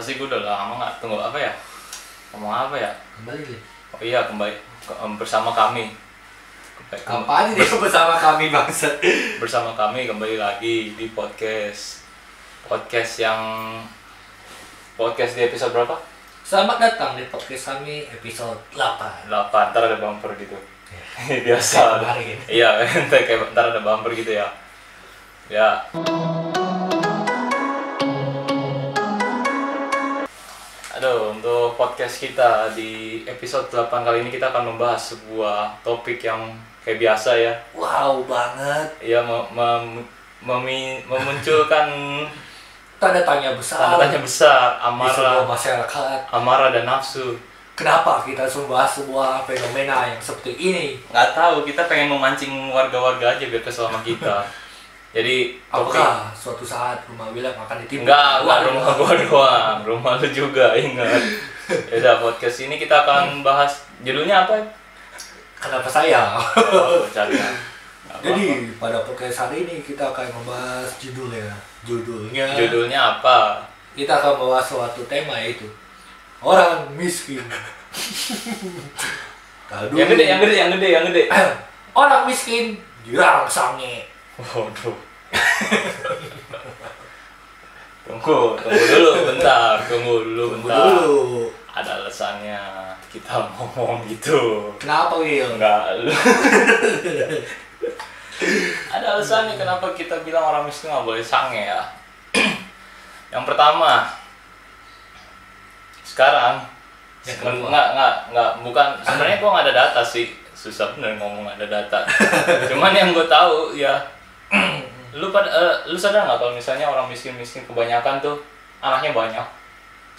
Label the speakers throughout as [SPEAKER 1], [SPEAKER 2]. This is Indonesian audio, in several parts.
[SPEAKER 1] sih gue udah lama nggak tunggu apa ya ngomong apa ya
[SPEAKER 2] kembali deh
[SPEAKER 1] oh iya kembali ke- em, bersama kami Kembali- kembali-
[SPEAKER 2] apa aja dia bersama kami bangsa
[SPEAKER 1] bersama kami kembali lagi di podcast podcast yang podcast di episode berapa
[SPEAKER 2] selamat datang di podcast kami episode 8
[SPEAKER 1] 8 ntar ada bumper gitu
[SPEAKER 2] Kayak
[SPEAKER 1] biasa
[SPEAKER 2] kemarin.
[SPEAKER 1] iya ntar kayak ntar ada bumper gitu ya ya Aduh, untuk podcast kita di episode 8 kali ini kita akan membahas sebuah topik yang kayak biasa ya
[SPEAKER 2] wow banget
[SPEAKER 1] Ya mem- mem- memi- memunculkan
[SPEAKER 2] tanda tanya besar
[SPEAKER 1] tanda tanya besar
[SPEAKER 2] di sebuah
[SPEAKER 1] amarah
[SPEAKER 2] masyarakat
[SPEAKER 1] amarah dan nafsu
[SPEAKER 2] kenapa kita harus membahas sebuah fenomena yang seperti ini
[SPEAKER 1] nggak tahu kita pengen memancing warga-warga aja biar kesel sama kita jadi topik
[SPEAKER 2] apakah suatu saat rumah bilang akan ditimbun
[SPEAKER 1] Enggak, enggak
[SPEAKER 2] Waduh.
[SPEAKER 1] rumah gua doang, rumah lu juga ingat. Ya udah podcast ini kita akan bahas judulnya apa? ya?
[SPEAKER 2] kenapa saya
[SPEAKER 1] Oh, bercanda. Apa?
[SPEAKER 2] jadi pada podcast hari ini kita akan membahas judulnya judulnya
[SPEAKER 1] judulnya apa?
[SPEAKER 2] kita akan membahas suatu tema yaitu orang miskin Tahu dulu.
[SPEAKER 1] Yang gede, yang gede, yang gede, yang gede.
[SPEAKER 2] orang miskin dirangsangnya
[SPEAKER 1] Waduh. tunggu, tunggu dulu bentar, tunggu dulu
[SPEAKER 2] Tunggu
[SPEAKER 1] bentar.
[SPEAKER 2] dulu
[SPEAKER 1] Ada alasannya kita ngomong gitu.
[SPEAKER 2] kenapa Wil?
[SPEAKER 1] Enggak. lu- Ada alasannya kenapa kita bilang orang miskin nggak boleh sange ya. Yang pertama, sekarang
[SPEAKER 2] Yang
[SPEAKER 1] seben-
[SPEAKER 2] kedua.
[SPEAKER 1] nggak nggak nggak bukan sebenarnya gua nggak ada data sih susah bener ngomong nggak ada data. Cuman yang gue tahu ya lu pada eh, lu sadar nggak kalau misalnya orang miskin miskin kebanyakan tuh anaknya banyak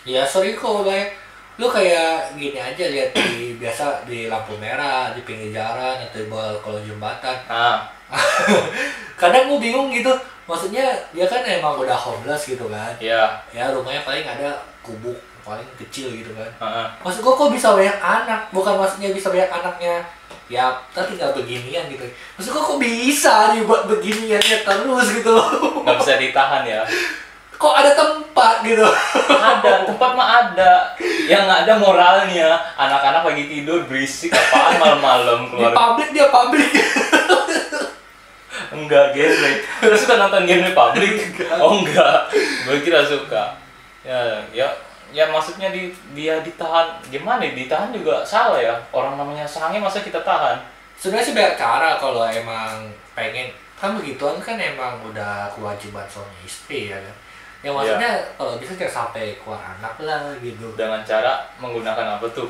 [SPEAKER 2] ya sorry kok banyak lu kayak gini aja lihat di biasa di lampu merah di pinggir jalan atau di bawah kolong jembatan
[SPEAKER 1] nah
[SPEAKER 2] kadang gue bingung gitu maksudnya dia kan emang udah homeless gitu kan
[SPEAKER 1] ya
[SPEAKER 2] ya rumahnya paling ada kubuk paling kecil gitu kan
[SPEAKER 1] heeh.
[SPEAKER 2] maksud gue kok bisa banyak anak bukan maksudnya bisa banyak anaknya ya tapi tinggal beginian gitu maksud gue kok bisa dibuat beginiannya terus gitu loh
[SPEAKER 1] nggak bisa ditahan ya
[SPEAKER 2] kok ada tempat gitu
[SPEAKER 1] ada tempat mah ada yang nggak ada moralnya anak-anak pagi tidur berisik apaan malam-malam
[SPEAKER 2] di
[SPEAKER 1] keluar
[SPEAKER 2] publik dia publik
[SPEAKER 1] enggak genre lu suka nonton genre publik oh enggak gue kira suka ya ya ya maksudnya di, dia ditahan gimana ya, ditahan juga salah ya orang namanya sange masa kita tahan
[SPEAKER 2] sebenarnya sih banyak cara kalau emang pengen kan begituan kan emang udah kewajiban suami istri ya kan yang maksudnya kalau bisa jangan sampai keluar anak lah gitu
[SPEAKER 1] dengan cara menggunakan apa tuh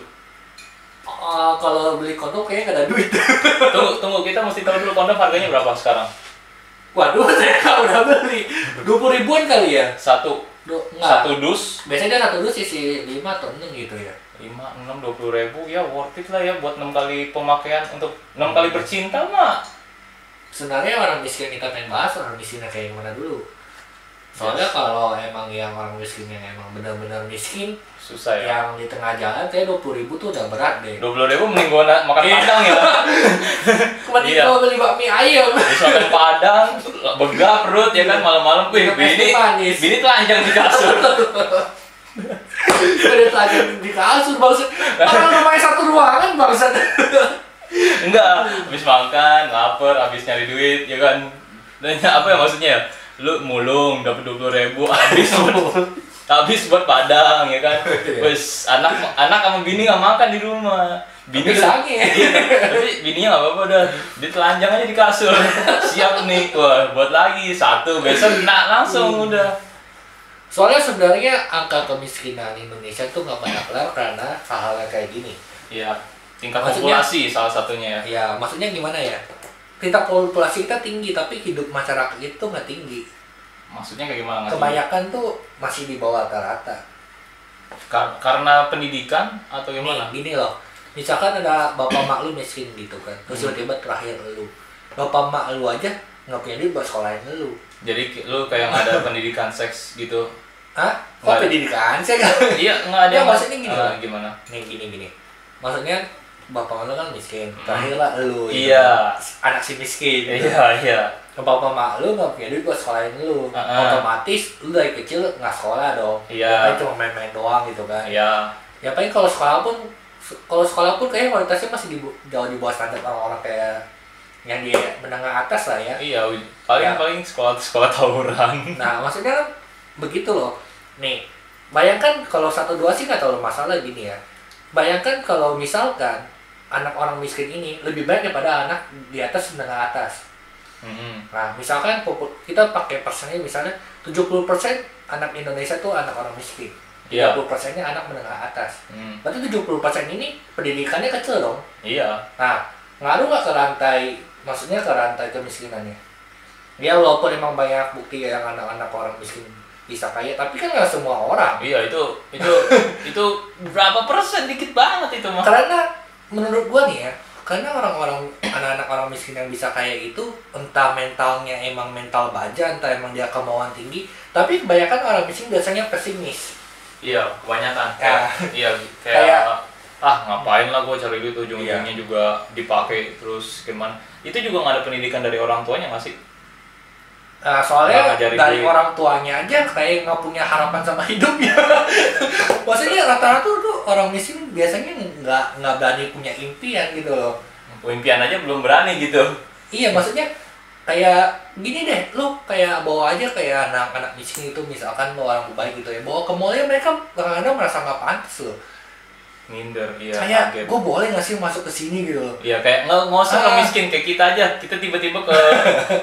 [SPEAKER 2] Eh, kalau beli kondom kayaknya gak ada duit
[SPEAKER 1] tunggu tunggu kita mesti tahu dulu kondom harganya berapa sekarang
[SPEAKER 2] waduh saya nggak udah beli dua ribuan kali ya
[SPEAKER 1] satu
[SPEAKER 2] Do, enggak.
[SPEAKER 1] satu dus
[SPEAKER 2] biasanya dia satu dus isi lima atau enam gitu ya
[SPEAKER 1] lima enam dua puluh ribu ya worth it lah ya buat enam kali pemakaian untuk enam kali
[SPEAKER 2] Hmm.
[SPEAKER 1] bercinta mah
[SPEAKER 2] sebenarnya orang miskin kita pengen bahas orang miskinnya kayak gimana dulu soalnya kalau emang yang orang miskin yang emang benar-benar miskin
[SPEAKER 1] susah ya
[SPEAKER 2] yang di tengah jalan kayak dua puluh ribu tuh udah berat deh
[SPEAKER 1] dua puluh ribu mending gua na- makan
[SPEAKER 2] Iya.
[SPEAKER 1] padang ya
[SPEAKER 2] Kemarin
[SPEAKER 1] Iya.
[SPEAKER 2] gua beli bakmi ayam.
[SPEAKER 1] Terus makan padang begah perut ya kan malam-malam wih
[SPEAKER 2] Minum Iya.
[SPEAKER 1] bini
[SPEAKER 2] es teh manis.
[SPEAKER 1] bini telanjang di kasur
[SPEAKER 2] Ada tanya di kasur maksud orang rumahnya satu ruangan bangsat.
[SPEAKER 1] enggak habis makan lapar habis nyari duit ya kan dan ya, apa ya maksudnya ya lu mulung dapat dua puluh ribu habis buat habis buat padang ya kan
[SPEAKER 2] Iya.
[SPEAKER 1] wes anak anak sama bini nggak makan di rumah bini
[SPEAKER 2] Tapi
[SPEAKER 1] udah-
[SPEAKER 2] sange.
[SPEAKER 1] iya, tapi bininya nggak apa-apa udah dia telanjang aja di kasur siap nih wah buat lagi satu besok nak
[SPEAKER 2] Iya.
[SPEAKER 1] langsung udah
[SPEAKER 2] Soalnya sebenarnya angka kemiskinan Indonesia tuh nggak banyak kelar karena hal-hal yang kayak gini.
[SPEAKER 1] ya tingkat
[SPEAKER 2] Maksudnya-
[SPEAKER 1] populasi salah satunya ya
[SPEAKER 2] Ya maksudnya gimana ya? Tingkat populasi kita tinggi tapi hidup masyarakat itu nggak tinggi.
[SPEAKER 1] maksudnya kayak gimana ngasih?
[SPEAKER 2] Kebanyakan tuh masih di bawah rata-rata.
[SPEAKER 1] Kar- karena pendidikan atau gimana
[SPEAKER 2] Gini loh, misalkan ada bapak mak lu miskin gitu kan, terus
[SPEAKER 1] Hmm.
[SPEAKER 2] tiba-tiba terakhir lu, bapak mak lu aja nggak punya duit buat sekolahin lu.
[SPEAKER 1] jadi ki- lu kayak nggak ada pendidikan seks gitu
[SPEAKER 2] Hah? Kok
[SPEAKER 1] Nggak ada.
[SPEAKER 2] pendidikan sih kan?
[SPEAKER 1] iya nggak ada
[SPEAKER 2] Ya,
[SPEAKER 1] yang-
[SPEAKER 2] maksudnya gini
[SPEAKER 1] Ah,
[SPEAKER 2] loh.
[SPEAKER 1] gimana
[SPEAKER 2] Nih gini gini. Maksudnya bapak lu kan miskin, terakhir lah lu. gitu.
[SPEAKER 1] Hmm. Iya.
[SPEAKER 2] Anak si miskin.
[SPEAKER 1] iya iya
[SPEAKER 2] Bapak mak lu nggak punya duit buat sekolahin lu,
[SPEAKER 1] Heeh.
[SPEAKER 2] otomatis lu dari kecil nggak sekolah dong.
[SPEAKER 1] Iya.
[SPEAKER 2] Ya paling cuma main-main doang gitu kan.
[SPEAKER 1] Iya.
[SPEAKER 2] Ya paling kalau sekolah pun, kalau sekolah pun kayaknya kualitasnya masih di, jauh di bawah standar orang-orang kayak yang di menengah atas lah ya.
[SPEAKER 1] Iya, Wi. paling
[SPEAKER 2] Ya.
[SPEAKER 1] paling sekolah sekolah tawuran.
[SPEAKER 2] Nah, maksudnya kan begitu loh. Nih, bayangkan kalau satu dua sih nggak terlalu masalah gini ya. Bayangkan kalau misalkan anak orang miskin ini lebih baik daripada anak di atas menengah atas.
[SPEAKER 1] Mhm.
[SPEAKER 2] Nah, misalkan popu- kita pakai persennya misalnya 70% anak Indonesia tuh anak orang miskin.
[SPEAKER 1] Iya.
[SPEAKER 2] 30%-nya anak menengah atas.
[SPEAKER 1] Hmm.
[SPEAKER 2] Berarti 70% ini pendidikannya kecil dong.
[SPEAKER 1] Iya.
[SPEAKER 2] Nah, ngaruh nggak ke rantai, maksudnya ke rantai kemiskinannya? Dia walaupun emang banyak bukti yang anak-anak orang miskin bisa kaya, tapi kan nggak semua orang.
[SPEAKER 1] Iya itu itu itu berapa persen dikit banget itu mah.
[SPEAKER 2] Karena menurut gua nih ya, karena orang-orang anak-anak orang miskin yang bisa kaya itu entah mentalnya emang mental baja, entah emang dia kemauan tinggi, tapi kebanyakan orang miskin biasanya pesimis.
[SPEAKER 1] Iya, kebanyakan.
[SPEAKER 2] Ya.
[SPEAKER 1] Kayak, iya, kayak, Iya.
[SPEAKER 2] Kayak-
[SPEAKER 1] ah ngapain lah gue cari duit ujung-ujungnya juga dipakai terus gimana? Itu juga nggak ada pendidikan dari orang tuanya nggak sih?
[SPEAKER 2] Nah, soalnya
[SPEAKER 1] Nggak ngajarin
[SPEAKER 2] dari
[SPEAKER 1] duit.
[SPEAKER 2] orang tuanya aja kayak nggak punya harapan sama hidupnya. Maksudnya rata-rata tuh orang miskin biasanya nggak nggak berani punya impian gitu loh.
[SPEAKER 1] Impian aja belum berani gitu.
[SPEAKER 2] Iya, maksudnya kayak gini deh, lu kayak bawa aja kayak anak-anak miskin itu misalkan lu orang baik gitu ya, bawa ke mallnya mereka kadang-kadang merasa nggak pantas loh.
[SPEAKER 1] Minder, iya. kaget.
[SPEAKER 2] kayak gue boleh nggak sih masuk ke sini gitu loh.
[SPEAKER 1] Iya kayak nggak nggak usah
[SPEAKER 2] Ah.
[SPEAKER 1] ke miskin kayak kita aja. Kita tiba-tiba ke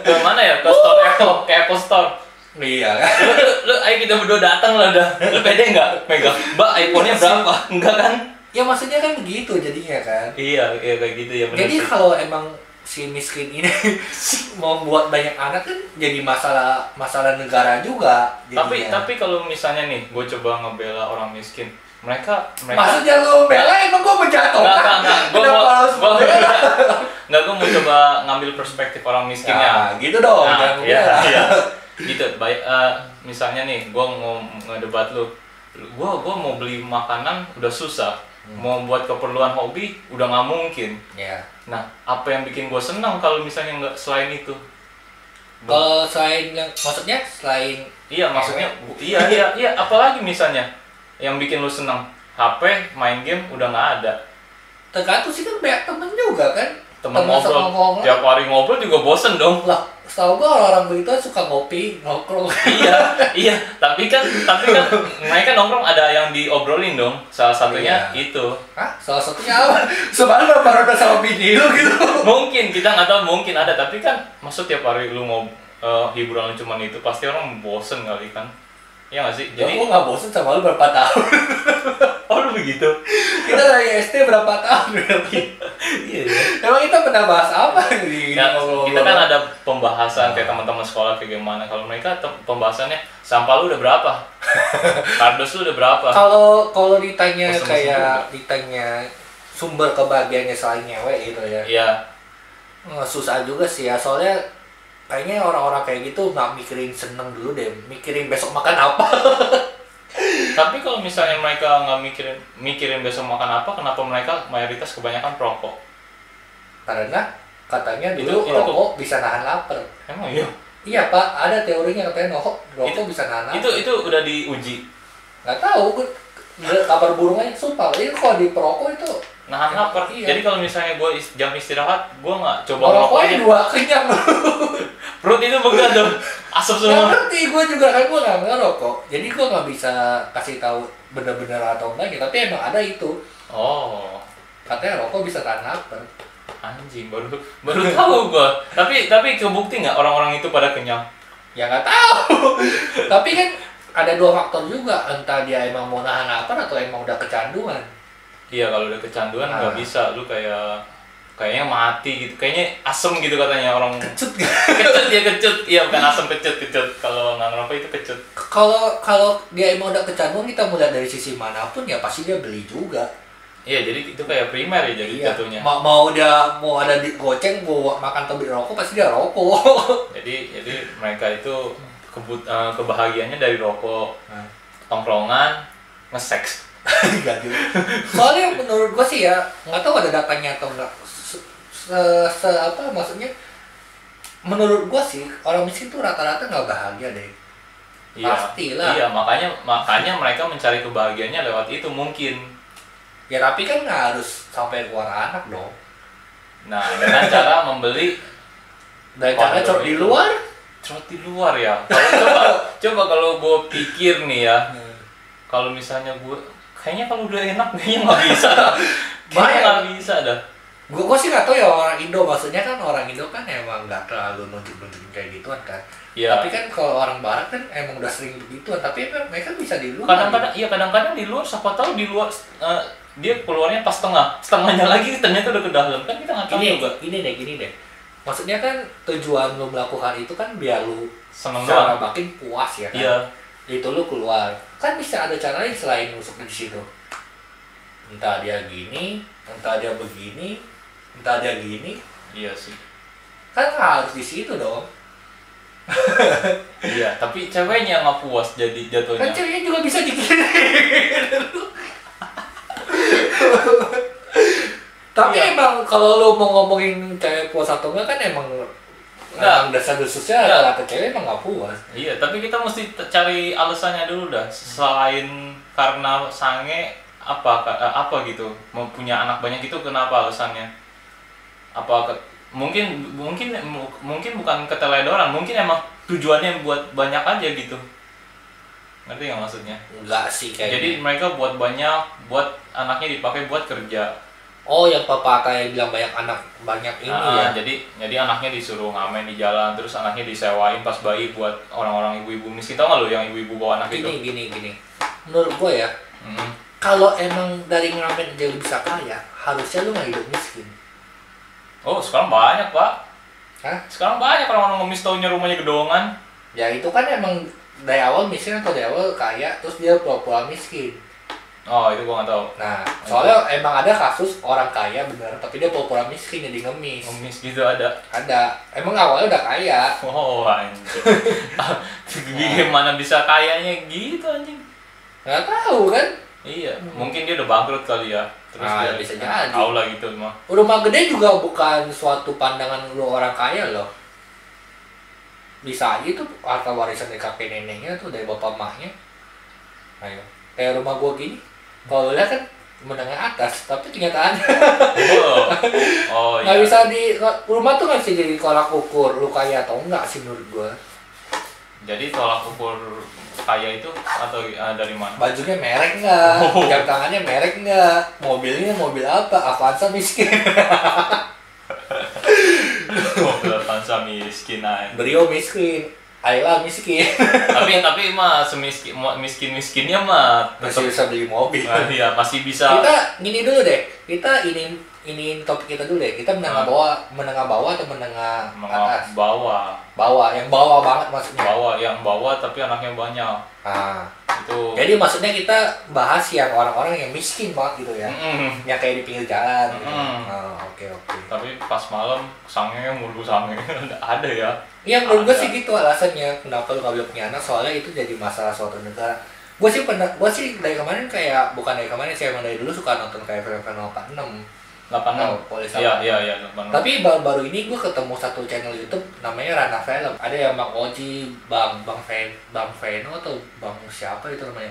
[SPEAKER 1] ke mana ya? Ke store Apple, ke Apple Store.
[SPEAKER 2] Iya kan?
[SPEAKER 1] Lu, lu, lu ayo kita berdua datang lah dah. Lu pede nggak? Mega. Mbak, iPhone-nya berapa? Enggak kan?
[SPEAKER 2] Ya maksudnya kan begitu jadinya kan.
[SPEAKER 1] Iya, iya kayak gitu ya benar.
[SPEAKER 2] Jadi
[SPEAKER 1] sih.
[SPEAKER 2] kalau emang si miskin ini membuat banyak anak kan jadi masalah masalah negara juga.
[SPEAKER 1] Tapi
[SPEAKER 2] jadinya.
[SPEAKER 1] tapi kalau misalnya nih, gue coba ngebela orang miskin. Mereka mereka
[SPEAKER 2] maksudnya lu bela emang gua
[SPEAKER 1] Enggak,
[SPEAKER 2] menjatuhkan.
[SPEAKER 1] enggak, enggak. Gua
[SPEAKER 2] Kenapa
[SPEAKER 1] mau-
[SPEAKER 2] harus
[SPEAKER 1] gua mau-
[SPEAKER 2] bela?
[SPEAKER 1] Enggak, gue mau coba ngambil perspektif orang miskin ya.
[SPEAKER 2] Nah, gitu dong.
[SPEAKER 1] Nah,
[SPEAKER 2] jangan
[SPEAKER 1] iya,
[SPEAKER 2] bela.
[SPEAKER 1] iya. gitu baik eh, misalnya nih gue mau ngedebat lu gue gua mau beli makanan udah susah mau buat keperluan hobi udah nggak mungkin
[SPEAKER 2] Iya.
[SPEAKER 1] nah apa yang bikin gue senang kalau misalnya nggak selain itu Oh.
[SPEAKER 2] Kalau selain yang maksudnya selain
[SPEAKER 1] iya maksudnya bu- iya iya iya apalagi misalnya yang bikin lu senang HP main game udah nggak ada
[SPEAKER 2] tergantung sih kan banyak temen juga kan.
[SPEAKER 1] temen
[SPEAKER 2] sama
[SPEAKER 1] ngobrol
[SPEAKER 2] nongkrong.
[SPEAKER 1] tiap hari ngobrol juga bosen dong
[SPEAKER 2] Lah, setahu gua orang-orang begitu suka ngopi, nongkrong.
[SPEAKER 1] iya iya tapi kan tapi kan mereka nongkrong ada yang diobrolin dong salah satunya
[SPEAKER 2] Iya.
[SPEAKER 1] itu
[SPEAKER 2] Hah? Salah satunya apa? Sebenarnya baru udah sama bini lu gitu.
[SPEAKER 1] mungkin kita nggak tahu mungkin ada tapi kan maksud tiap hari lu mau eh, hiburan lu cuman itu pasti orang bosen kali kan Iya nggak sih
[SPEAKER 2] Jadi
[SPEAKER 1] jadi
[SPEAKER 2] Ya, gua nggak bosen sama lu berapa tahun.
[SPEAKER 1] oh lu begitu
[SPEAKER 2] kita dari SD berapa tahun berarti?
[SPEAKER 1] iya iya.
[SPEAKER 2] Emang kita pernah bahas apa di
[SPEAKER 1] Ya,
[SPEAKER 2] ngobrol-ngobrol?
[SPEAKER 1] kita kan ada pembahasan kayak teman-teman sekolah kayak gimana kalau mereka tem- pembahasannya sampah lu udah berapa kardus lu udah berapa
[SPEAKER 2] Kalau kalau ditanya
[SPEAKER 1] Bosen-bosen
[SPEAKER 2] kayak ditanya sumber kebahagiaannya selain nyewe gitu ya.
[SPEAKER 1] iya
[SPEAKER 2] Eh, Susah juga sih ya soalnya kayaknya orang-orang kayak gitu nggak mikirin seneng dulu deh, mikirin besok makan apa.
[SPEAKER 1] tapi kalau misalnya mereka nggak mikirin mikirin besok makan apa kenapa mereka mayoritas kebanyakan perokok
[SPEAKER 2] Karena katanya
[SPEAKER 1] Itu-
[SPEAKER 2] dulu
[SPEAKER 1] itu-
[SPEAKER 2] rokok bisa nahan lapar.
[SPEAKER 1] emang iya
[SPEAKER 2] Iya pak, ada teorinya katanya rokok rokok
[SPEAKER 1] Itu-
[SPEAKER 2] bisa nahan lapar.
[SPEAKER 1] itu itu udah diuji
[SPEAKER 2] nggak tahu gue nggak kabar burung aja sumpah ini kalau di perokok itu
[SPEAKER 1] nahan
[SPEAKER 2] Ya,
[SPEAKER 1] Nah, lapar
[SPEAKER 2] iya.
[SPEAKER 1] jadi kalau misalnya gue jam istirahat gue nggak coba ngerokok
[SPEAKER 2] perokoknya
[SPEAKER 1] aja
[SPEAKER 2] dua kenyang lu
[SPEAKER 1] perut itu begah tuh asap
[SPEAKER 2] nggak
[SPEAKER 1] semua
[SPEAKER 2] ngerti gue juga kan gue nggak ngerokok jadi gue nggak bisa kasih tahu bener-bener atau enggak ya, tapi emang ada itu
[SPEAKER 1] oh
[SPEAKER 2] katanya rokok bisa tahan lapar
[SPEAKER 1] anjing baru baru tahu gue tapi tapi kebukti nggak orang-orang itu pada kenyang
[SPEAKER 2] ya nggak tahu tapi kan ada dua faktor juga entah dia emang mau nahan lapar atau emang udah kecanduan
[SPEAKER 1] iya kalau udah kecanduan
[SPEAKER 2] Ah.
[SPEAKER 1] nggak bisa lu kayak kayaknya mati gitu kayaknya asem gitu katanya orang
[SPEAKER 2] kecut
[SPEAKER 1] kecut ya kecut iya bukan asem kecut kecut kalau nggak ngerokok itu kecut
[SPEAKER 2] kalau kalau dia emang udah kecanduan kita mau lihat dari sisi manapun ya pasti dia beli juga
[SPEAKER 1] iya jadi itu kayak primer ya jadi
[SPEAKER 2] Iya.
[SPEAKER 1] jatuhnya
[SPEAKER 2] Mau, mau dia mau ada di goceng mau makan tebing rokok pasti dia rokok.
[SPEAKER 1] jadi jadi mereka itu kebut eh, kebahagiaannya dari rokok
[SPEAKER 2] Nah.
[SPEAKER 1] tongkrongan ngeseks
[SPEAKER 2] Enggak juga. Soalnya menurut gua sih ya nggak tahu ada datanya atau enggak. Se, se- se- apa maksudnya menurut gua sih orang miskin tuh rata-rata nggak bahagia deh
[SPEAKER 1] Iya.
[SPEAKER 2] Pastilah.
[SPEAKER 1] Iya, makanya makanya mereka mencari kebahagiaannya lewat itu mungkin.
[SPEAKER 2] ya tapi kan nggak harus sampai keluar anak dong
[SPEAKER 1] Nah, dengan cara membeli
[SPEAKER 2] dan
[SPEAKER 1] Wah,
[SPEAKER 2] cara
[SPEAKER 1] betul
[SPEAKER 2] cor di
[SPEAKER 1] itu.
[SPEAKER 2] luar
[SPEAKER 1] cerot di luar ya. Kalau coba coba kalau gue pikir nih ya, kalau misalnya gue kayaknya kalau udah enak kayaknya nggak bisa. Kayaknya
[SPEAKER 2] Bayar.
[SPEAKER 1] nggak bisa dah.
[SPEAKER 2] gua, gua sih nggak tahu ya orang Indo maksudnya kan orang Indo kan emang nggak terlalu nunjuk-nunjukin kayak gituan kan
[SPEAKER 1] Ya.
[SPEAKER 2] tapi kan kalau orang Barat kan emang udah sering begituan tapi emang mereka bisa di luar
[SPEAKER 1] kadang-kadang iya kadang-kadang di luar siapa tahu di luar eh, dia keluarnya pas setengah setengahnya lagi ternyata udah ke dalam kan kita nggak tahu
[SPEAKER 2] gini
[SPEAKER 1] juga
[SPEAKER 2] gini deh gini deh maksudnya kan tujuan lu melakukan itu kan biar lu
[SPEAKER 1] seneng
[SPEAKER 2] secara
[SPEAKER 1] doang
[SPEAKER 2] makin puas ya kan
[SPEAKER 1] iya
[SPEAKER 2] itu lu keluar kan bisa ada cara lain selain nusuk di situ entah dia gini entah dia begini entah dia gini
[SPEAKER 1] iya sih
[SPEAKER 2] kan nggak harus di situ dong
[SPEAKER 1] iya tapi ceweknya nggak puas jadi
[SPEAKER 2] kan
[SPEAKER 1] jatuhnya
[SPEAKER 2] ceweknya juga bisa dikirim tapi
[SPEAKER 1] Iya.
[SPEAKER 2] emang kalau lu mau ngomongin cewek puas atau enggak kan emang
[SPEAKER 1] Enggak. Iya.
[SPEAKER 2] emang dasar khususnya
[SPEAKER 1] Enggak.
[SPEAKER 2] rata cewek emang nggak puas
[SPEAKER 1] iya tapi kita mesti t- cari alasannya dulu dah selain karena sange apa ka- eh, apa gitu mempunyai anak banyak itu kenapa alasannya apa ke- mungkin mungkin mu- mungkin bukan keteledoran mungkin emang tujuannya buat banyak aja gitu ngerti nggak maksudnya
[SPEAKER 2] enggak sih
[SPEAKER 1] Jadi
[SPEAKER 2] kayaknya
[SPEAKER 1] mereka buat banyak, buat anaknya dipakai buat kerja.
[SPEAKER 2] oh yang papa kayak bilang banyak anak banyak ini
[SPEAKER 1] Ah,
[SPEAKER 2] ya
[SPEAKER 1] Jadi jadi anaknya disuruh ngamen di jalan, terus anaknya disewain pas bayi buat orang-orang ibu-ibu miskin. Tau nggak lo yang ibu-ibu bawa anak itu?
[SPEAKER 2] gini gini gini menurut gue ya
[SPEAKER 1] Hmm.
[SPEAKER 2] kalau emang dari ngamen aja lu bisa kaya harusnya lu nggak hidup miskin
[SPEAKER 1] Oh sekarang banyak pak.
[SPEAKER 2] Hah?
[SPEAKER 1] Sekarang banyak orang-orang ngemis taunya rumahnya gedongan.
[SPEAKER 2] ya itu kan emang dari awal miskin atau dari awal kaya terus dia pura-pura miskin
[SPEAKER 1] Oh itu gua nggak tahu.
[SPEAKER 2] nah soalnya emang ada kasus orang kaya bener tapi dia pura-pura miskin jadi ngemis
[SPEAKER 1] Ngemis gitu ada.
[SPEAKER 2] ada emang awalnya udah kaya
[SPEAKER 1] Oh anjing. Ah, Gimana bisa kayanya gitu anjing?
[SPEAKER 2] nggak tahu kan
[SPEAKER 1] Iya, mungkin dia udah bangkrut kali ya. Terus
[SPEAKER 2] Ah,
[SPEAKER 1] dia
[SPEAKER 2] bisa jadi.
[SPEAKER 1] Tahu lah gitu mah.
[SPEAKER 2] rumah gede juga bukan suatu pandangan lu orang kaya loh bisa aja tuh harta warisan dari kakek neneknya tuh dari bapak mahnya ayo kayak rumah gua gini kalau lu lihat kan menengah atas tapi kenyataannya
[SPEAKER 1] Oh, oh
[SPEAKER 2] nggak
[SPEAKER 1] iya.
[SPEAKER 2] bisa di rumah tuh nggak bisa jadi kolak ukur lu kaya atau enggak sih menurut gua
[SPEAKER 1] Jadi tolak ukur kaya itu atau eh, dari mana?
[SPEAKER 2] bajunya merek nggak
[SPEAKER 1] Oh.
[SPEAKER 2] jam tangannya merek nggak mobilnya mobil apa Avanza miskin
[SPEAKER 1] Mobil Avanza miskin aja.
[SPEAKER 2] Brio miskin Ayla miskin
[SPEAKER 1] tapi tapi mah semiskin miskin miskinnya mah tetap
[SPEAKER 2] masih bisa beli mobil
[SPEAKER 1] Ah, iya masih bisa.
[SPEAKER 2] kita gini dulu deh kita ini ini topik kita dulu deh kita
[SPEAKER 1] Ah.
[SPEAKER 2] menengah bawah menengah bawah atau menengah atas
[SPEAKER 1] menga- Bawa,
[SPEAKER 2] bawah yang bawah banget maksudnya
[SPEAKER 1] bawa yang bawa tapi anaknya banyak
[SPEAKER 2] nah
[SPEAKER 1] itu.
[SPEAKER 2] jadi maksudnya kita bahas yang orang-orang yang miskin banget gitu ya
[SPEAKER 1] Mm-mm.
[SPEAKER 2] yang kayak di pinggir jalan gitu.
[SPEAKER 1] Mm.
[SPEAKER 2] Oh, oke oke
[SPEAKER 1] Tapi pas malam sange mulu sange ada ya.
[SPEAKER 2] Iya menurut gue
[SPEAKER 1] Ada.
[SPEAKER 2] sih gitu alasannya kenapa lu gak boleh punya anak soalnya itu jadi masalah suatu negara. Gue sih pernah, gue sih dari kemarin kayak bukan dari kemarin sih emang dari dulu suka nonton kayak film-film 86
[SPEAKER 1] Delapan enam.
[SPEAKER 2] Oh, boleh sama.
[SPEAKER 1] Iya iya iya delapan enam.
[SPEAKER 2] Tapi baru-baru ini gue ketemu satu channel YouTube namanya Rana Film. Ada yang Bang Oji, Bang Bang Ven, Bang Veno atau Bang siapa itu namanya.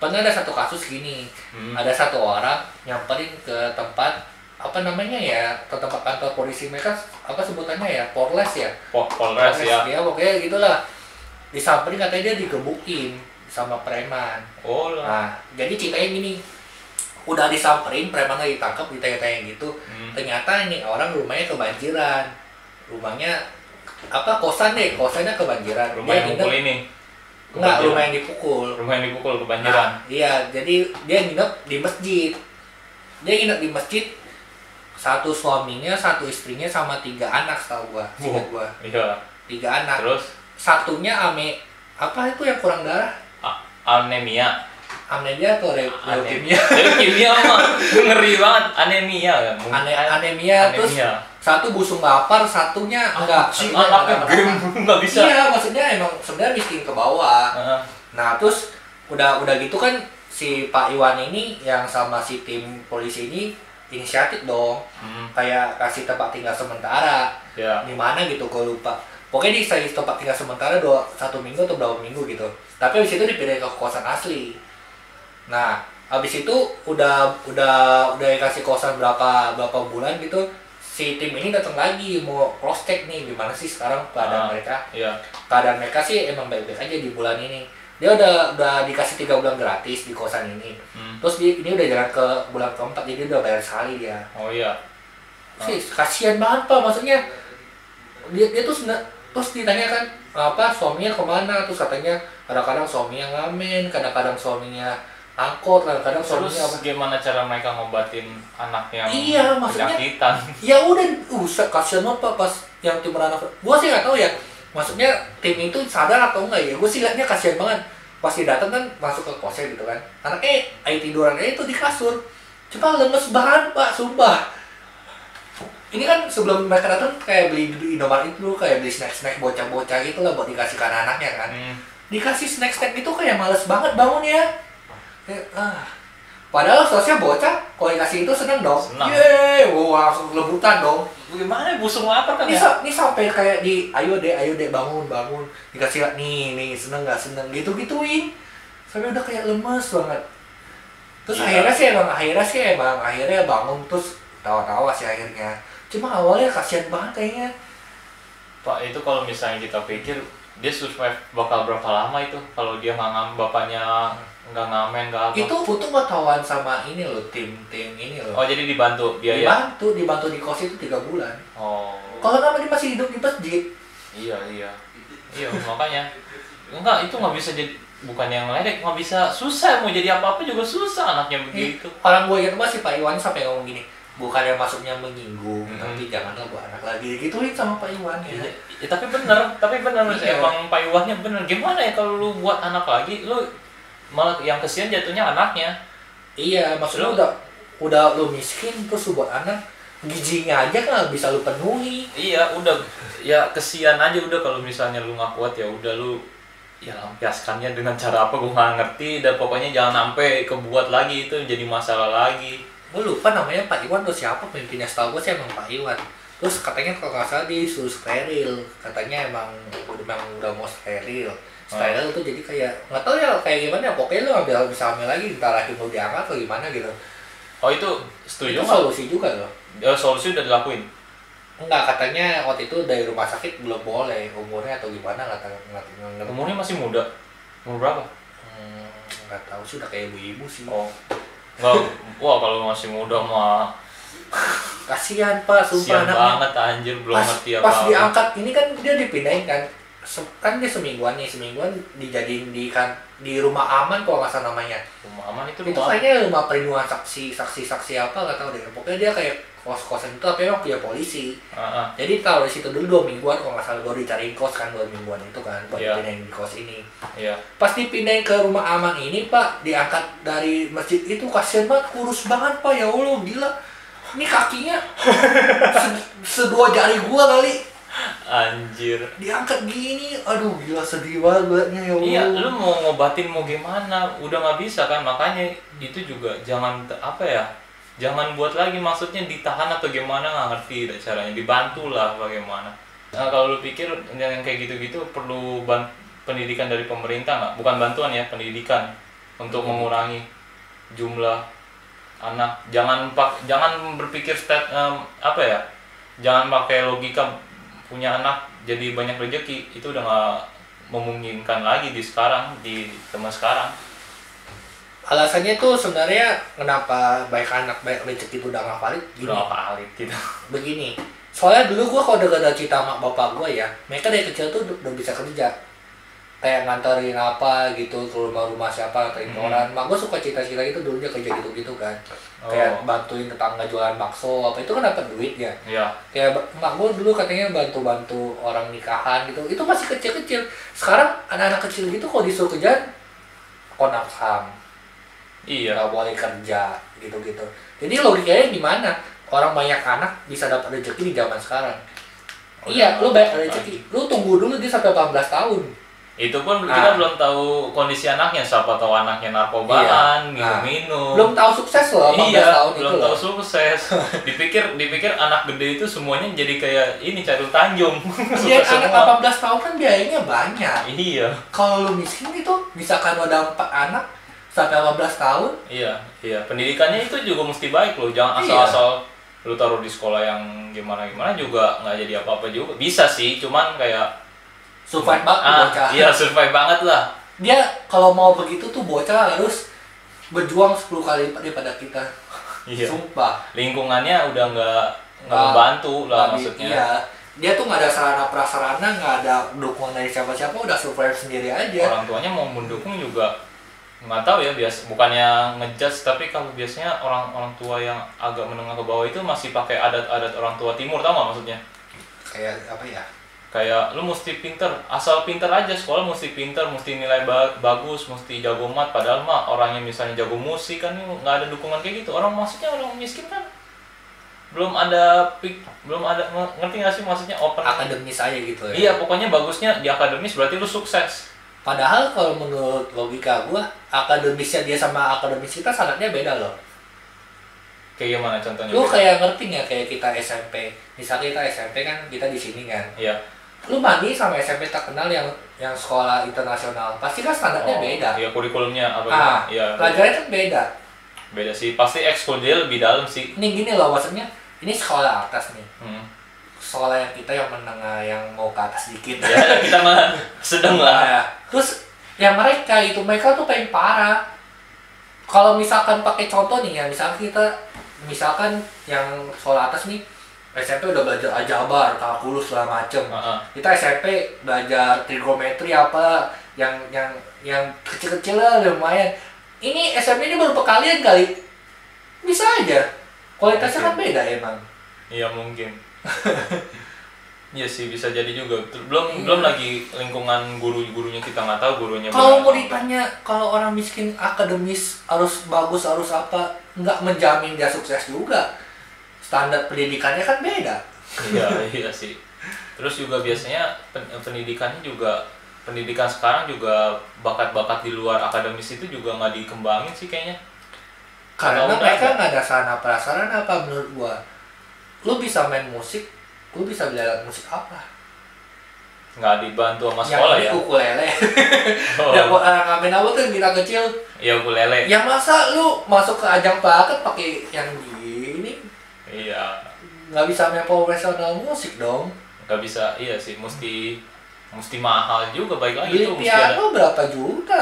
[SPEAKER 2] Pernah ada satu kasus gini,
[SPEAKER 1] Hmm.
[SPEAKER 2] ada satu orang nyamperin ke tempat apa namanya ya, ke tempat kantor polisi mereka apa sebutannya ya, Porles ya.
[SPEAKER 1] Po- Polres ya.
[SPEAKER 2] ya pokoknya gitulah disamperin katanya dia digebukin sama preman
[SPEAKER 1] Oh lah.
[SPEAKER 2] nah jadi ceritanya gini udah disamperin premannya ditangkap ditanya-tanya gitu
[SPEAKER 1] Hmm.
[SPEAKER 2] ternyata ini orang rumahnya kebanjiran rumahnya apa kosan deh kosannya kebanjiran
[SPEAKER 1] Rumah yang mukul ini.
[SPEAKER 2] nggak
[SPEAKER 1] Kebanjiran.
[SPEAKER 2] rumah yang dipukul
[SPEAKER 1] Rumah yang dipukul kebanjiran.
[SPEAKER 2] Nah, iya, jadi dia nginep di masjid. Dia nginep di masjid satu suaminya, satu istrinya sama tiga anak setahu gua, seingat gua.
[SPEAKER 1] Iya.
[SPEAKER 2] Tiga anak.
[SPEAKER 1] Terus
[SPEAKER 2] Satunya ame apa itu yang kurang darah?
[SPEAKER 1] a- anemia.
[SPEAKER 2] Anemia atau re- leukemia?
[SPEAKER 1] Leukemia mah Gua ngeri banget anemia kan.
[SPEAKER 2] Ane- anemia, terus
[SPEAKER 1] Anemia.
[SPEAKER 2] satu busung lapar, satunya enggak.
[SPEAKER 1] Anjing,
[SPEAKER 2] satunya
[SPEAKER 1] anaknya
[SPEAKER 2] enggak
[SPEAKER 1] game
[SPEAKER 2] berapa.
[SPEAKER 1] Ah, enggak bisa.
[SPEAKER 2] Iya, maksudnya emang sebenarnya miskin ke bawah.
[SPEAKER 1] Heeh.
[SPEAKER 2] Nah, terus udah udah gitu kan si Pak Iwan ini yang sama si tim polisi ini inisiatif dong
[SPEAKER 1] Hmm,
[SPEAKER 2] kayak kasih tempat tinggal sementara
[SPEAKER 1] ya
[SPEAKER 2] di mana gitu gue lupa pokoknya di saya tempat tinggal sementara dua satu minggu atau berapa minggu gitu tapi habis itu dipindahin ke kosan asli nah habis itu udah udah udah kasih kosan berapa berapa bulan gitu si tim ini datang lagi mau cross check nih gimana sih sekarang keadaan
[SPEAKER 1] Ah.
[SPEAKER 2] mereka
[SPEAKER 1] ya
[SPEAKER 2] keadaan mereka sih emang baik-baik aja di bulan ini dia udah udah dikasih tiga bulan gratis di kosan ini
[SPEAKER 1] Hmm.
[SPEAKER 2] terus dia, ini udah jalan ke bulan keempat jadi udah bayar sekali dia
[SPEAKER 1] oh iya
[SPEAKER 2] sih kasihan banget pak maksudnya dia dia tuh sena- terus ditanya kan apa suaminya kemana terus katanya kadang-kadang suaminya ngamen kadang-kadang suaminya angkot kadang-kadang
[SPEAKER 1] terus
[SPEAKER 2] suaminya apa
[SPEAKER 1] gimana cara mereka ngobatin anak yang
[SPEAKER 2] Iya, maksudnya-
[SPEAKER 1] penyakitan
[SPEAKER 2] ya udah uh sa- kasihan banget pak pas yang tim anak gua sih nggak tahu ya maksudnya tim itu sadar atau enggak ya gua sih liatnya kasihan banget pas dia datang kan masuk ke kosan gitu kan anaknya eh tiduran aja itu di kasur cuma lemes banget pak sumpah ini kan sebelum mereka datang kayak beli di Indomaret itu dulu, kayak beli snack-snack bocah-bocah gitu lah buat dikasih ke anak-anaknya kan
[SPEAKER 1] Hmm,
[SPEAKER 2] dikasih snack-snack itu kayak males banget bangun ya Kayak, ah. Padahal sosnya bocah, kalau dikasih itu seneng dong.
[SPEAKER 1] Seneng.
[SPEAKER 2] Yeay, wah langsung lebutan dong.
[SPEAKER 1] gimana busung lapar kan ya
[SPEAKER 2] Ini, sa- ini sampai kayak di, ayo deh, ayo deh bangun, bangun. Dikasih liat, nih, nih, seneng gak seneng, gitu-gituin. Sampai udah kayak lemes banget. Terus
[SPEAKER 1] Iya.
[SPEAKER 2] akhirnya sih emang, akhirnya sih emang, akhirnya bangun terus tawa-tawa sih akhirnya. Cuma awalnya kasihan banget kayaknya.
[SPEAKER 1] pak itu kalau misalnya kita pikir dia survive bakal berapa lama itu kalau dia nggak ngam bapaknya nggak ngamen nggak apa
[SPEAKER 2] Itu untung gua tawaan sama ini loh, tim-tim ini loh.
[SPEAKER 1] oh jadi dibantu biaya
[SPEAKER 2] dibantu, dibantu di kos itu tiga bulan.
[SPEAKER 1] oh
[SPEAKER 2] Kalau nggak dia masih hidup di masjid.
[SPEAKER 1] iya iya iya makanya enggak itu nggak bisa jadi bukan yang ledek nggak bisa susah mau jadi apa apa juga susah anaknya begitu
[SPEAKER 2] Orang gue ingat masih Pak Iwan sampai ngomong gini, bukan yang masuknya menyinggung,
[SPEAKER 1] Hmm.
[SPEAKER 2] tapi jangan buat anak lagi gituin sama Pak Iwan ya.
[SPEAKER 1] Iya, Ya, tapi bener, tapi bener
[SPEAKER 2] Iya.
[SPEAKER 1] emang payuahnya bener. Gimana ya kalau lu buat anak lagi, lu malah yang kesian jatuhnya anaknya.
[SPEAKER 2] Iya, maksudnya
[SPEAKER 1] Lu-
[SPEAKER 2] udah udah lu miskin terus lu buat anak gizinya aja kan nggak bisa lu penuhi.
[SPEAKER 1] Iya, udah ya kesian aja udah kalau misalnya lu nggak kuat ya udah lu ya lampiaskannya dengan cara apa gue nggak ngerti dan pokoknya jangan sampai kebuat lagi itu jadi masalah lagi.
[SPEAKER 2] Gue lupa namanya Pak Iwan tuh siapa pemimpinnya setahu gue sih emang Pak Iwan. Terus katanya kalau nggak salah disuruh steril, katanya emang memang udah mau steril. Steril tuh jadi kayak nggak tahu ya kayak gimana. Pokoknya lu ngambil bisa hamil lagi, entah lagi lu diangkat atau gimana gitu.
[SPEAKER 1] Oh itu setuju
[SPEAKER 2] itu
[SPEAKER 1] nggak?
[SPEAKER 2] solusi juga loh
[SPEAKER 1] Eh, Solusi udah dilakuin.
[SPEAKER 2] enggak katanya waktu itu dari rumah sakit belum boleh umurnya atau gimana nggak tahu nggak tahu nggak tahu.
[SPEAKER 1] Umurnya masih muda. Umur berapa?
[SPEAKER 2] Hmm, nggak tahu sih udah kayak ibu-ibu sih
[SPEAKER 1] Oh, nggak. Wah kalau masih muda mah
[SPEAKER 2] kasihan pak
[SPEAKER 1] kesian
[SPEAKER 2] sumpah anaknya
[SPEAKER 1] banget anjir belum
[SPEAKER 2] pas,
[SPEAKER 1] ngerti apa.
[SPEAKER 2] pas diangkat ini kan dia dipindahin kan Se- kan dia semingguan nih semingguan dijadiin di kan di rumah aman kalau nggak salah namanya
[SPEAKER 1] Rumah aman itu
[SPEAKER 2] itu
[SPEAKER 1] rumah
[SPEAKER 2] kayaknya rumah perlindungan saksi saksi saksi apa nggak tahu deh pokoknya dia kayak kos kosan itu tapi emang punya polisi
[SPEAKER 1] Heeh.
[SPEAKER 2] Jadi kalau di situ dulu dua mingguan kalau nggak salah baru dicariin kos kan dua mingguan itu kan buat
[SPEAKER 1] Iya.
[SPEAKER 2] dipindahin di kos ini.
[SPEAKER 1] Iya.
[SPEAKER 2] Pas dipindahin ke rumah aman ini pak diangkat dari masjid itu kasihan banget kurus banget pak ya allah gila. Ini kakinya se- sedua jari gua kali
[SPEAKER 1] Anjir.
[SPEAKER 2] diangkat gini, aduh gila sedih banget ngeliatnya, ya allah.
[SPEAKER 1] Iya, lu mau ngobatin mau gimana? Udah nggak bisa kan? Makanya itu juga jangan te- apa ya? Jangan buat lagi maksudnya ditahan atau gimana nggak ngerti dah caranya. Dibantu lah bagaimana. Nah, kalau lu pikir yang yang kayak gitu-gitu perlu ban- pendidikan dari pemerintah nggak? Bukan bantuan ya, pendidikan untuk mengurangi jumlah anak. Jangan pak, jangan berpikir stat em, apa ya? Jangan pakai logika punya anak jadi banyak rezeki itu udah nggak memungkinkan lagi di sekarang di teman sekarang
[SPEAKER 2] Alasannya tuh sebenarnya kenapa baik anak baik rezeki itu udah nggak valid gini.
[SPEAKER 1] udah nggak valid gitu
[SPEAKER 2] begini soalnya dulu gua kalau dengar cerita sama bapak gua ya mereka dari kecil tuh udah bisa kerja kayak nganterin apa gitu ke rumah-rumah siapa nganterin
[SPEAKER 1] Hmm.
[SPEAKER 2] orang mak gua suka cita-cita itu dulu dia kerja gitu-gitu kan kayak bantuin tetangga jualan bakso apa itu kan dapat duit ya
[SPEAKER 1] ya
[SPEAKER 2] kayak ba- mak gua dulu katanya bantu-bantu orang nikahan gitu itu masih kecil-kecil sekarang anak-anak kecil gitu kalau disuruh kerjaan konak ham
[SPEAKER 1] iya
[SPEAKER 2] nggak boleh kerja gitu-gitu jadi logikanya gimana orang banyak anak bisa dapat rezeki di zaman sekarang
[SPEAKER 1] Oh,
[SPEAKER 2] iya
[SPEAKER 1] iya.
[SPEAKER 2] lu banyak rezeki lu tunggu dulu dia sampai 18 tahun
[SPEAKER 1] itu pun
[SPEAKER 2] Ah.
[SPEAKER 1] kita belum tahu kondisi anaknya siapa tahu anaknya narkobaan
[SPEAKER 2] Iya.
[SPEAKER 1] minum-minum
[SPEAKER 2] belum tahu sukses loh 18
[SPEAKER 1] Oh. iya
[SPEAKER 2] tahun itu
[SPEAKER 1] belum
[SPEAKER 2] loh
[SPEAKER 1] tahu sukses dipikir dipikir anak gede itu semuanya jadi kayak ini Carul Tanjung
[SPEAKER 2] Dia
[SPEAKER 1] Sukses semua.
[SPEAKER 2] Iya, anak 18 tahun kan biayanya banyak
[SPEAKER 1] iya
[SPEAKER 2] kalau lu miskin itu misalkan lu ada empat anak sampai 18 tahun
[SPEAKER 1] iya iya pendidikannya itu juga mesti baik loh jangan
[SPEAKER 2] Iya.
[SPEAKER 1] asal-asal lu taruh di sekolah yang gimana gimana juga nggak jadi apa-apa juga bisa sih cuman kayak
[SPEAKER 2] survive banget tuh
[SPEAKER 1] ah
[SPEAKER 2] bocah
[SPEAKER 1] iya survive banget lah
[SPEAKER 2] dia kalau mau begitu tuh bocah harus berjuang 10 kali lipat daripada kita
[SPEAKER 1] iya
[SPEAKER 2] sumpah
[SPEAKER 1] lingkungannya udah nggak nggak
[SPEAKER 2] Nggak-
[SPEAKER 1] membantu lah
[SPEAKER 2] Tapi,
[SPEAKER 1] maksudnya
[SPEAKER 2] iya dia tuh nggak ada sarana prasarana nggak ada dukungan dari siapa-siapa udah survive sendiri aja
[SPEAKER 1] orang tuanya mau mendukung juga nggak tahu ya bias bukannya ngejudge tapi kalau biasanya orang orang tua yang agak menengah ke bawah itu masih pakai adat-adat orang tua timur tau nggak maksudnya
[SPEAKER 2] kayak apa ya
[SPEAKER 1] kayak lu mesti pinter asal pinter aja sekolah mesti pinter mesti nilai ba- bagus mesti jago mat padahal mah orang yang misalnya jago musik kan ini nggak ada dukungan kayak gitu orang maksudnya orang miskin kan belum ada pik- belum ada ngerti nggak sih maksudnya open
[SPEAKER 2] akademis aja gitu ya
[SPEAKER 1] iya pokoknya bagusnya di akademis berarti lu sukses
[SPEAKER 2] Padahal kalau menurut logika gua, akademisnya dia sama akademis kita sanatnya beda loh.
[SPEAKER 1] kayak gimana contohnya
[SPEAKER 2] Lu kayak ngerti nggak kayak kita SMP, misalnya kita SMP kan kita di sini kan.
[SPEAKER 1] iya
[SPEAKER 2] Lu mandi sama SMP terkenal yang yang sekolah internasional, pasti kan standarnya
[SPEAKER 1] Oh,
[SPEAKER 2] beda.
[SPEAKER 1] Iya kurikulumnya apa
[SPEAKER 2] Ah,
[SPEAKER 1] gitu. Iya.
[SPEAKER 2] Pelajarannya kan beda.
[SPEAKER 1] Beda sih. Pasti ekskul dia lebih dalam sih.
[SPEAKER 2] Ini gini loh maksudnya, ini sekolah atas nih.
[SPEAKER 1] Hmm.
[SPEAKER 2] Sekolah yang kita yang menengah yang mau ke atas dikit.
[SPEAKER 1] Ya kita mah sedang lah.
[SPEAKER 2] Nah, terus yang mereka itu mereka tuh paling parah. Kalau misalkan pakai contoh nih ya, misalkan kita misalkan yang sekolah atas nih SMP udah belajar aljabar, kalkulus lah macem.
[SPEAKER 1] Heeh.
[SPEAKER 2] Kita SMP belajar trigonometri apa yang yang yang kecil-kecil lah lumayan. Ini SMP ini baru perkalian kali. Bisa aja. Kualitasnya kan beda emang.
[SPEAKER 1] Iya mungkin. Iya sih bisa jadi juga. Ter- Belum
[SPEAKER 2] Iya.
[SPEAKER 1] belum lagi lingkungan guru-gurunya kita nggak tahu gurunya.
[SPEAKER 2] Kalau
[SPEAKER 1] beneran
[SPEAKER 2] mau
[SPEAKER 1] apa.
[SPEAKER 2] ditanya kalau orang miskin akademis harus bagus harus apa nggak menjamin dia sukses juga standar pendidikannya kan beda
[SPEAKER 1] Iya iya sih. Terus juga biasanya pen- pendidikannya juga pendidikan sekarang juga bakat-bakat di luar akademis itu juga nggak dikembangin sih kayaknya. Kalau
[SPEAKER 2] karena
[SPEAKER 1] udah
[SPEAKER 2] mereka
[SPEAKER 1] ada.
[SPEAKER 2] nggak ada sarana prasarana apa menurut gua lu bisa main musik lu bisa belajar musik apa
[SPEAKER 1] Nggak dibantu sama sekolah ya.
[SPEAKER 2] yang ini ukulele
[SPEAKER 1] Oh,
[SPEAKER 2] yang buat orang ngamen apa tuh kita kecil
[SPEAKER 1] ya ukulele.
[SPEAKER 2] yang masa lu masuk ke ajang pelakat pakai yang gini
[SPEAKER 1] Iya.
[SPEAKER 2] nggak bisa main profesional musik dong
[SPEAKER 1] nggak bisa iya sih mesti mesti mahal juga baik lagi
[SPEAKER 2] beli
[SPEAKER 1] tuh mesti Oh, ada
[SPEAKER 2] piano berapa juta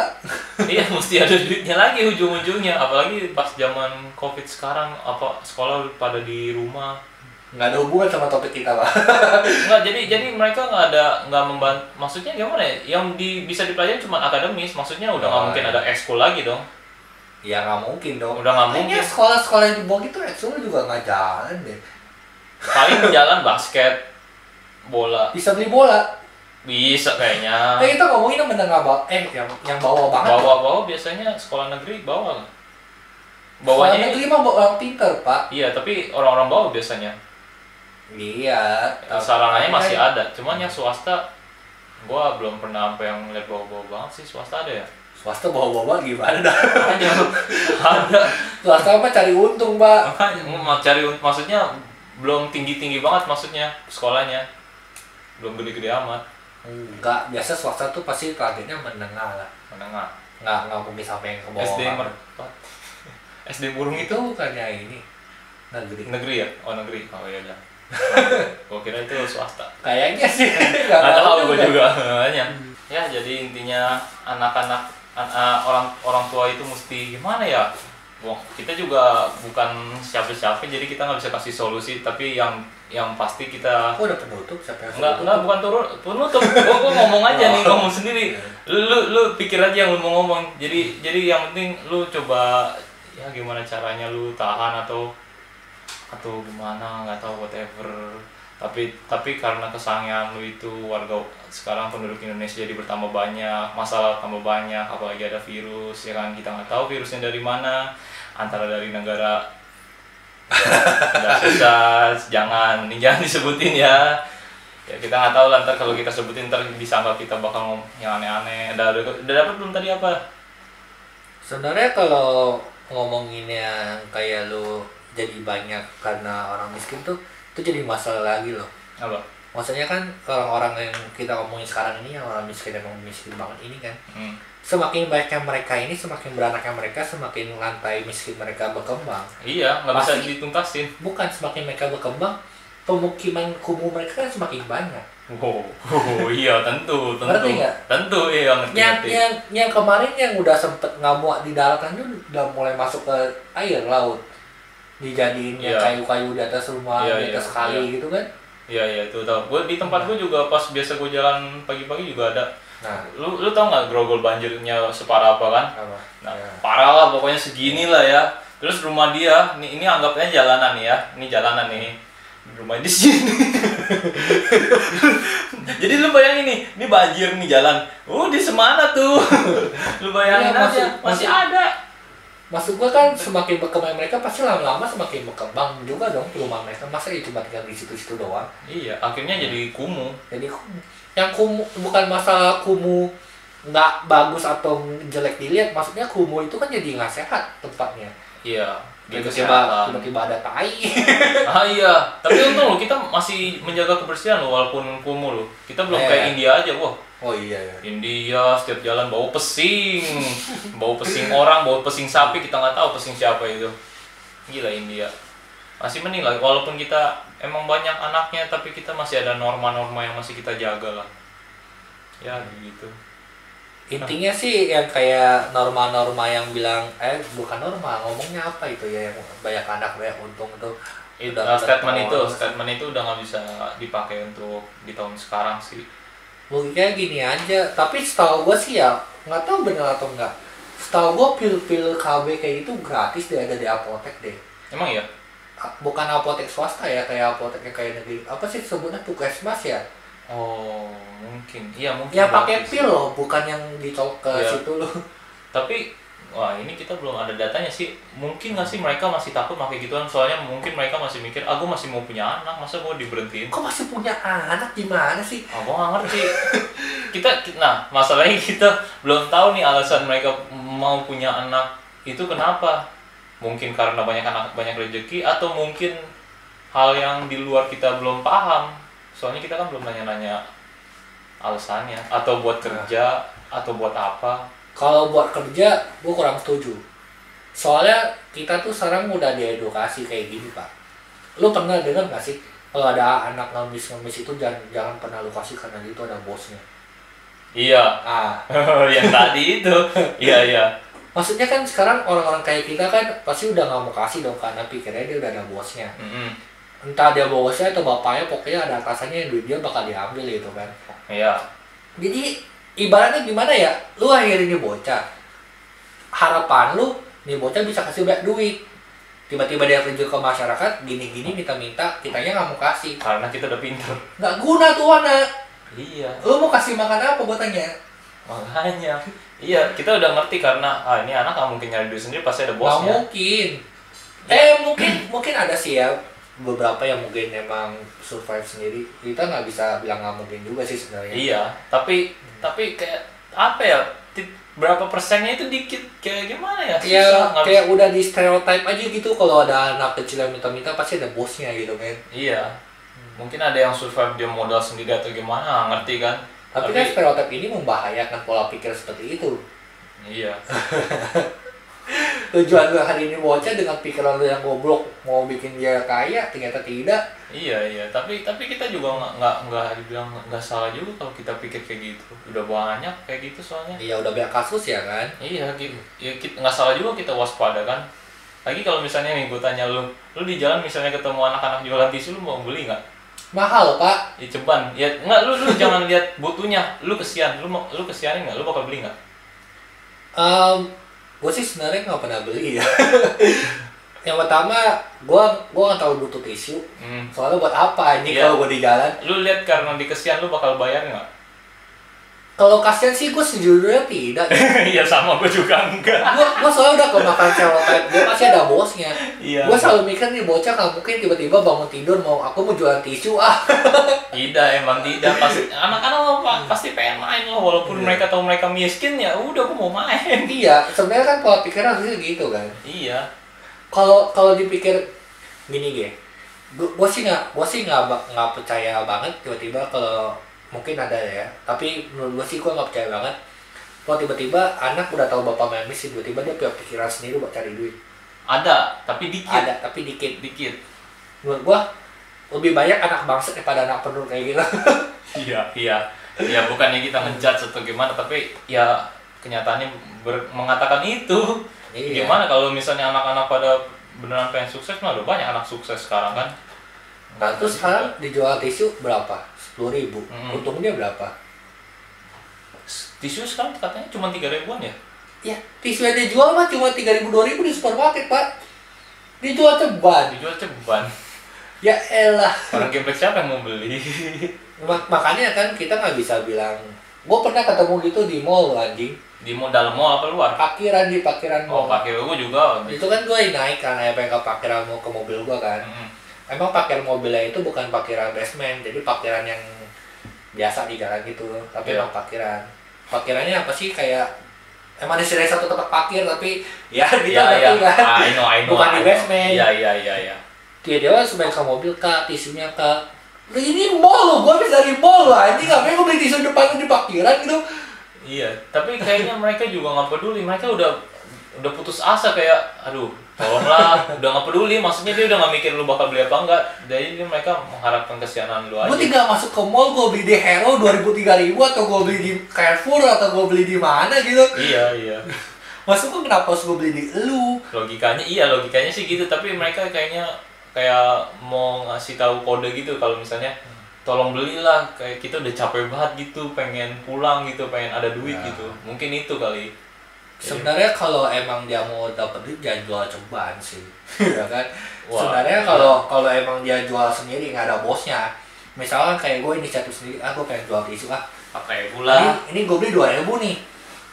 [SPEAKER 1] iya mesti ada duitnya lagi ujung-ujungnya apalagi pas zaman covid sekarang apa sekolah pada di rumah
[SPEAKER 2] nggak ada hubungan sama topik kita pak
[SPEAKER 1] nggak jadi jadi mereka nggak ada nggak membantu maksudnya gimana ya yang di, bisa dipelajari cuma akademis maksudnya udah nggak
[SPEAKER 2] Oh,
[SPEAKER 1] mungkin
[SPEAKER 2] iya.
[SPEAKER 1] ada ekskul lagi dong
[SPEAKER 2] Ya nggak mungkin dong.
[SPEAKER 1] udah nggak
[SPEAKER 2] Kayaknya
[SPEAKER 1] mungkin
[SPEAKER 2] sekolah-sekolah yang di bawah gitu ekskul juga nggak jalan deh.
[SPEAKER 1] paling jalan basket bola
[SPEAKER 2] Bisa beli bola.
[SPEAKER 1] bisa kayaknya
[SPEAKER 2] Eh kita ngomongin yang menengah bawah, eh yang yang bawah banget.
[SPEAKER 1] bawa-bawa biasanya sekolah negeri bawa nggak?
[SPEAKER 2] Sekolah
[SPEAKER 1] bawahnya
[SPEAKER 2] negeri mah bawa orang pinter pak.
[SPEAKER 1] iya tapi orang-orang bawah biasanya
[SPEAKER 2] Iya.
[SPEAKER 1] Eh, sarananya masih ada cuman yang swasta gua belum pernah sampai yang ngeliat bawa-bawa banget sih swasta ada ya
[SPEAKER 2] Swasta bawa-bawa gimana dah?
[SPEAKER 1] ada ada
[SPEAKER 2] Swasta mah cari untung pak.
[SPEAKER 1] makanya mau cari maksudnya belum tinggi tinggi banget maksudnya sekolahnya belum gede-gede amat
[SPEAKER 2] Enggak, biasa swasta tuh pasti targetnya menengah lah.
[SPEAKER 1] menengah
[SPEAKER 2] Nggak nggak mungkin sampai yang ke bawah.
[SPEAKER 1] SD
[SPEAKER 2] banget.
[SPEAKER 1] merpat SD burung
[SPEAKER 2] itu
[SPEAKER 1] itu
[SPEAKER 2] bukannya ini negeri.
[SPEAKER 1] negeri ya oh negeri oh iya iya gua kira itu swasta
[SPEAKER 2] Kayaknya sih. Nggak
[SPEAKER 1] nggak tahu gue juga makanya ya jadi intinya anak-anak an- ah, orang orang tua itu mesti gimana ya Wah, kita juga bukan siapa-siapa jadi kita nggak bisa kasih solusi tapi yang yang pasti kita
[SPEAKER 2] Aku udah penutup siapa yang
[SPEAKER 1] nggak
[SPEAKER 2] penutup?
[SPEAKER 1] nggak bukan turun penutup gua, gua ngomong aja nih ngomong sendiri lu, lu lu pikir aja yang lu mau ngomong jadi jadi yang penting lu coba ya gimana caranya lu tahan atau atau gimana nggak tahu whatever tapi tapi karena kesangian lu itu warga sekarang penduduk Indonesia jadi bertambah banyak masalah tambah banyak apalagi ada virus ya kan kita nggak tahu virusnya dari mana antara dari negara udah susah jangan ini jangan disebutin ya ya kita nggak tahu lah ntar kalau kita sebutin ntar disangka kita bakal ngomong yang aneh-aneh udah udah dapet belum tadi apa
[SPEAKER 2] Sebenarnya kalau ngomongin yang kayak lu jadi banyak karena orang miskin tuh itu jadi masalah lagi loh.
[SPEAKER 1] apa
[SPEAKER 2] Maksudnya kan orang-orang yang kita ngomongin sekarang ini yang orang miskin emang miskin banget ini kan.
[SPEAKER 1] hmm.
[SPEAKER 2] Semakin banyaknya mereka ini, semakin beranaknya mereka, semakin lantai miskin mereka berkembang.
[SPEAKER 1] iya nggak bisa
[SPEAKER 2] Pasti.
[SPEAKER 1] dituntasin
[SPEAKER 2] Bukan semakin mereka berkembang, pemukiman kumuh mereka kan semakin banyak.
[SPEAKER 1] wow iya tentu tentu
[SPEAKER 2] Ngerti nggak?
[SPEAKER 1] tentu iya ngerti
[SPEAKER 2] Yang,
[SPEAKER 1] ngerti
[SPEAKER 2] yang, yang kemarin yang udah sempet ngamuk di daratan tuh udah mulai masuk ke air laut dijadiin yang
[SPEAKER 1] Iya.
[SPEAKER 2] kayu-kayu di atas rumah
[SPEAKER 1] Iya,
[SPEAKER 2] di atas
[SPEAKER 1] iya,
[SPEAKER 2] kali
[SPEAKER 1] iya.
[SPEAKER 2] gitu kan
[SPEAKER 1] iya iya itu tau gue di tempat gue juga pas biasa gue jalan pagi-pagi juga ada
[SPEAKER 2] nah
[SPEAKER 1] lu lu tau nggak grogol banjirnya separah apa kan
[SPEAKER 2] apa
[SPEAKER 1] Nah,
[SPEAKER 2] Ya.
[SPEAKER 1] parah lah pokoknya segini lah ya. Terus rumah dia, ini, ini anggapnya jalanan ya, ini jalanan ini. Rumah di sini. Jadi lu bayangin nih, ini banjir nih jalan. Uh, di semana tuh. lu bayangin
[SPEAKER 2] Iya,
[SPEAKER 1] aja,
[SPEAKER 2] masih-
[SPEAKER 1] masih
[SPEAKER 2] masih-
[SPEAKER 1] ada.
[SPEAKER 2] maksud gua kan semakin berkembang mereka pasti lama-lama semakin berkembang juga dong rumah mereka masa ya cuma tinggal di situ-situ doang
[SPEAKER 1] Iya, akhirnya jadi kumuh.
[SPEAKER 2] jadi kumuh. yang kumuh bukan masalah kumuh nggak bagus atau jelek dilihat maksudnya kumuh itu kan jadi nggak sehat tempatnya
[SPEAKER 1] Iya, di
[SPEAKER 2] tiba-tiba
[SPEAKER 1] kesehatan.
[SPEAKER 2] tiba-tiba ada tai
[SPEAKER 1] Ah iya, tapi untung loh kita masih menjaga kebersihan loh walaupun kumuh loh. Kita belum
[SPEAKER 2] Iya.
[SPEAKER 1] kayak India aja, wah.
[SPEAKER 2] oh iya ya
[SPEAKER 1] India setiap jalan bau pesing, bau pesing orang, bau pesing sapi kita nggak tahu pesing siapa itu. Gila India. Masih mending lah, walaupun kita emang banyak anaknya, tapi kita masih ada norma-norma yang masih kita jaga lah. Ya gitu.
[SPEAKER 2] intinya sih yang kayak norma-norma yang bilang eh bukan norma ngomongnya apa itu ya yang banyak anak banyak untung itu
[SPEAKER 1] Itu uh,
[SPEAKER 2] Udah- udah
[SPEAKER 1] statement itu,
[SPEAKER 2] terlalu-
[SPEAKER 1] statement itu udah nggak bisa dipakai untuk di tahun sekarang sih.
[SPEAKER 2] logikanya gini aja tapi setahu gue sih ya nggak tahu bener atau enggak setahu gue pil-pil KB kayak gitu gratis deh ada di apotek deh
[SPEAKER 1] Emang ya?
[SPEAKER 2] A- bukan apotek swasta ya kayak apoteknya kayak negeri apa sih sebutnya puskesmas ya
[SPEAKER 1] Oh mungkin, iya mungkin.
[SPEAKER 2] yang Ya, pakai
[SPEAKER 1] gratis.
[SPEAKER 2] pil loh bukan yang dicolok ke
[SPEAKER 1] Iya.
[SPEAKER 2] situ loh
[SPEAKER 1] tapi wah ini kita belum ada datanya sih mungkin nggak sih mereka masih takut pakai gituan soalnya mungkin mereka masih mikir aku masih mau punya anak masa gue diberhentiin
[SPEAKER 2] kok masih punya anak gimana sih
[SPEAKER 1] aku nggak ngerti kita ki- nah masalahnya kita belum tahu nih alasan mereka mau punya anak itu kenapa mungkin karena banyak anak banyak rezeki atau mungkin hal yang di luar kita belum paham soalnya kita kan belum nanya-nanya alasannya atau buat kerja atau buat apa
[SPEAKER 2] kalau buat kerja gue kurang setuju soalnya kita tuh sekarang udah diedukasi kayak gini pak lu pernah dengar nggak sih kalau ada anak ngemis ngemis itu jangan jangan pernah lu kasih karena itu ada bosnya
[SPEAKER 1] iya
[SPEAKER 2] ah
[SPEAKER 1] yang tadi itu iya iya
[SPEAKER 2] maksudnya kan sekarang orang-orang kayak kita kan pasti udah nggak mau kasih dong karena pikirnya dia udah ada bosnya
[SPEAKER 1] Mm-mm.
[SPEAKER 2] entah dia bosnya atau bapaknya pokoknya ada atasannya yang duit dia bakal diambil gitu kan
[SPEAKER 1] iya
[SPEAKER 2] jadi ibaratnya gimana ya lu akhirnya nih bocah harapan lu nih bocah bisa kasih banyak duit tiba-tiba dia terjun ke masyarakat gini-gini minta-minta kitanya nggak mau kasih
[SPEAKER 1] karena kita udah pinter
[SPEAKER 2] nggak guna tuh anak
[SPEAKER 1] iya
[SPEAKER 2] lu mau kasih makan apa buat tanya
[SPEAKER 1] makanya iya kita udah ngerti karena ah ini anak nggak mungkin nyari duit sendiri pasti ada
[SPEAKER 2] nggak
[SPEAKER 1] bosnya
[SPEAKER 2] mungkin eh mungkin mungkin ada sih ya beberapa yang mungkin emang survive sendiri kita nggak bisa bilang nggak mungkin juga sih sebenarnya
[SPEAKER 1] iya tapi tapi kayak apa ya ti- berapa persennya itu dikit kayak gimana ya
[SPEAKER 2] ya
[SPEAKER 1] Susah, nggak
[SPEAKER 2] kayak udah di stereotype aja gitu kalau ada anak kecil yang minta-minta pasti ada bosnya gitu kan
[SPEAKER 1] bisa. iya mungkin ada yang survive dia modal sendiri atau gimana nggak ngerti kan
[SPEAKER 2] Tapi kan stereotip ini membahayakan pola pikir seperti itu.
[SPEAKER 1] iya
[SPEAKER 2] Tujuan lu hari ini bocah dengan pikiran lu yang goblok mau bikin dia kaya, ternyata tidak.
[SPEAKER 1] Iya iya, tapi tapi kita juga nggak nggak nggak dibilang nggak salah juga kalau kita pikir kayak gitu. Udah banyak kayak gitu soalnya.
[SPEAKER 2] Iya udah banyak kasus ya kan.
[SPEAKER 1] Iya, ki- ya kita nggak salah juga kita waspada kan. Lagi kalau misalnya nih gue tanya lu, lu di jalan misalnya ketemu anak-anak jualan tisu lu mau beli nggak?
[SPEAKER 2] Mahal pak.
[SPEAKER 1] Ya ceban, ya nggak lu lu jangan lihat butuhnya, lu kesian, lu mau lu kesianin nggak, lu bakal beli nggak?
[SPEAKER 2] Em, gue sih sebenarnya nggak pernah beli ya. yang pertama, gue gue nggak tahu butuh tisu.
[SPEAKER 1] Hmm.
[SPEAKER 2] Soalnya buat apa ini
[SPEAKER 1] Iya.
[SPEAKER 2] kalau gue di jalan?
[SPEAKER 1] Lu lihat karena di kesian lu bakal bayar nggak?
[SPEAKER 2] Kalau kasihan sih gue sejujurnya tidak.
[SPEAKER 1] Iya sama gue juga enggak.
[SPEAKER 2] Gue gue soalnya udah kemakan stereotype. Dia pasti ada bosnya.
[SPEAKER 1] Iya.
[SPEAKER 2] Gue selalu mikir nih bocah nggak mungkin tiba-tiba bangun tidur mau aku mau jualan tisu ah.
[SPEAKER 1] Tidak emang tidak pasti anak-anak lo pa- pasti pengen main lo walaupun
[SPEAKER 2] Iya.
[SPEAKER 1] mereka tahu mereka miskin ya udah gue mau main.
[SPEAKER 2] iya. Sebenarnya kan pola pikirnya harusnya gitu kan.
[SPEAKER 1] Iya.
[SPEAKER 2] Kalau kalau dipikir gini gue gue sih nggak gue sih nggak ba- nggak percaya banget tiba-tiba kalau mungkin ada ya tapi menurut gue sih gue nggak percaya banget kalau tiba-tiba anak udah tahu bapak main misi tiba-tiba dia punya pikiran sendiri buat cari duit
[SPEAKER 1] Ada tapi dikit.
[SPEAKER 2] ada tapi dikit
[SPEAKER 1] Dikit.
[SPEAKER 2] menurut gua lebih banyak anak bangsa daripada anak penur kayak gitu
[SPEAKER 1] Iya. Iya. Ya bukannya kita ngejudge atau gimana tapi ya kenyataannya ber- mengatakan itu.
[SPEAKER 2] Iya.
[SPEAKER 1] Gimana kalau misalnya anak-anak pada beneran pengen sukses mah udah banyak anak sukses sekarang kan.
[SPEAKER 2] nah terus sekarang dijual tisu berapa sepuluh ribu
[SPEAKER 1] Mm-mm.
[SPEAKER 2] untungnya berapa
[SPEAKER 1] tisu sekarang katanya cuma tiga ribuan ya?
[SPEAKER 2] ya tisu yang dijual mah cuma tiga ribu dua ribu di supermarket pak dijual ceban
[SPEAKER 1] Dijual ceban.
[SPEAKER 2] ya elah
[SPEAKER 1] Orang geblek siapa yang mau beli?
[SPEAKER 2] Ma- makanya kan kita nggak bisa bilang gua pernah ketemu gitu di mall anjing
[SPEAKER 1] Di mau dalam mall apa luar?
[SPEAKER 2] parkiran di parkiran
[SPEAKER 1] Oh,
[SPEAKER 2] mall
[SPEAKER 1] pakai gua juga.
[SPEAKER 2] itu kan gua naik kan apa yang ke parkiran mau ke mobil gua kan
[SPEAKER 1] Mm.
[SPEAKER 2] emang parkir mobilnya itu bukan parkiran basement jadi parkiran yang biasa di jalan gitu tapi
[SPEAKER 1] Iya.
[SPEAKER 2] emang parkiran parkirannya apa sih kayak emang disediain satu tempat parkir tapi ya kita
[SPEAKER 1] Iya,
[SPEAKER 2] ngerti
[SPEAKER 1] iya.
[SPEAKER 2] kan
[SPEAKER 1] Ah, I know, I know.
[SPEAKER 2] Bukan
[SPEAKER 1] I
[SPEAKER 2] di
[SPEAKER 1] know.
[SPEAKER 2] basement.
[SPEAKER 1] Iya, iya, iya, iya.
[SPEAKER 2] dia dia sebaik ke mobil kak tisunya kak Lu ini mall lo, gue bisa dari mall lo, anjing ngapain gue beli tisu depan di parkiran gitu
[SPEAKER 1] Iya, tapi kayaknya mereka juga nggak peduli. Mereka udah udah putus asa kayak aduh tolonglah udah nggak peduli maksudnya dia udah nggak mikir lu bakal beli apa enggak jadi dia mereka mengharapkan kesianan lu aja
[SPEAKER 2] Gue tinggal masuk ke mall, gue beli di Hero 2000-3000 atau gue beli di Carrefour atau gue beli di mana gitu
[SPEAKER 1] iya iya
[SPEAKER 2] Maksud gue kenapa harus gue beli di elu?
[SPEAKER 1] logikanya iya logikanya sih gitu tapi mereka kayaknya kayak mau ngasih tahu kode gitu kalau misalnya tolong belilah kayak kita udah capek banget gitu pengen pulang gitu pengen ada duit
[SPEAKER 2] Ya.
[SPEAKER 1] gitu mungkin itu kali Iya.
[SPEAKER 2] Sebenarnya kalau emang dia mau dapat duit jangan jual cobaan sih, ya kan?
[SPEAKER 1] Wah, iya.
[SPEAKER 2] Sebenarnya kalau kalau emang dia jual sendiri nggak ada bosnya, misalkan kayak gue inisiatif sendiri, ah gue pengen jual tisu ah,
[SPEAKER 1] apa ya
[SPEAKER 2] ini,
[SPEAKER 1] pula
[SPEAKER 2] ini gue beli dua ribu nih,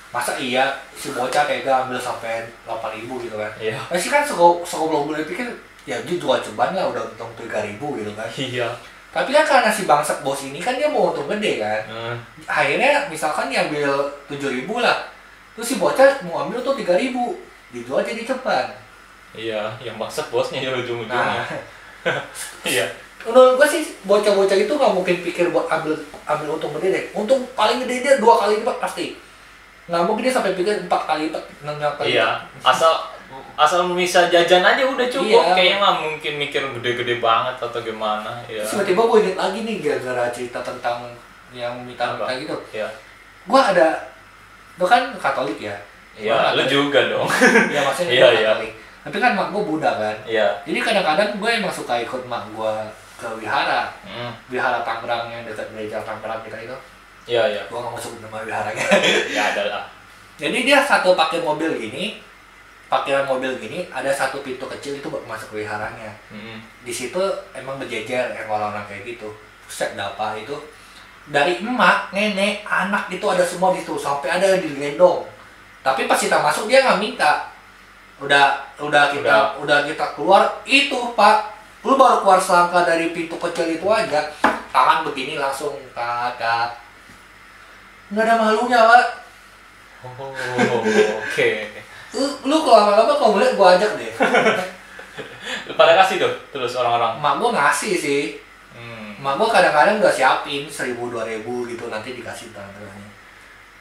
[SPEAKER 2] masa iya si bocah kayak gue ambil sampai delapan ribu gitu kan?
[SPEAKER 1] iya
[SPEAKER 2] Pasti kan sego sego belum boleh pikir ya dia jual cobaan lah udah untung tiga ribu gitu kan?
[SPEAKER 1] iya
[SPEAKER 2] Tapi kan karena si bangsat bos ini kan dia mau untung gede kan?
[SPEAKER 1] Eh,
[SPEAKER 2] akhirnya misalkan diambil tujuh ribu lah terus si bocah mau ambil tuh tiga ribu dijual jadi cepat
[SPEAKER 1] iya yang maksud bosnya ya
[SPEAKER 2] nah
[SPEAKER 1] ujung-ujungnya iya
[SPEAKER 2] menurut gua sih bocah-bocah itu nggak mungkin pikir buat ambil ambil untung gede deh untung paling gede dia dua kali lipat pasti nggak mungkin dia sampai pikir empat kali lipat enam kali lipat.
[SPEAKER 1] iya asal asal bisa jajan aja udah cukup
[SPEAKER 2] Iya.
[SPEAKER 1] kayaknya nggak mungkin mikir gede-gede banget atau gimana ya
[SPEAKER 2] Terus tiba-tiba gue inget lagi nih gara-gara cerita tentang yang minta minta gitu
[SPEAKER 1] ya
[SPEAKER 2] gua ada gua kan katolik ya
[SPEAKER 1] ya
[SPEAKER 2] Gua
[SPEAKER 1] lu juga dong
[SPEAKER 2] ya maksudnya
[SPEAKER 1] Iya,
[SPEAKER 2] gua
[SPEAKER 1] iya.
[SPEAKER 2] katolik tapi kan mak gua buddha kan
[SPEAKER 1] iya
[SPEAKER 2] Jadi kadang-kadang gue emang suka ikut mak gue ke wihara,
[SPEAKER 1] Hmm.
[SPEAKER 2] wihara Tangerang yang dekat gereja Tangerang kita itu.
[SPEAKER 1] Iya iya.
[SPEAKER 2] Gue nggak masuk nama wiharanya.
[SPEAKER 1] Ya ada lah.
[SPEAKER 2] Jadi dia satu pakai mobil gini, parkiran mobil gini, ada satu pintu kecil itu buat masuk ke wiharanya.
[SPEAKER 1] Mm-mm.
[SPEAKER 2] Di situ emang berjejer yang orang-orang kayak gitu. Set dapa itu dari emak, nenek, anak itu ada semua di situ sampai ada yang digendong. Tapi pas kita masuk dia nggak minta. Udah udah kita
[SPEAKER 1] Udah.
[SPEAKER 2] udah kita keluar itu pak lu baru keluar selangkah dari pintu kecil itu aja tangan begini langsung kakak nggak ada malunya pak
[SPEAKER 1] Oh, oke.
[SPEAKER 2] lu, lu kalau lama-lama kalau boleh gua ajak deh
[SPEAKER 1] Lu pada kasih tuh terus orang-orang.
[SPEAKER 2] emak gua ngasih sih
[SPEAKER 1] Hmm.
[SPEAKER 2] emak gua kadang-kadang udah siapin seribu dua ribu gitu nanti dikasih tangan-tangannya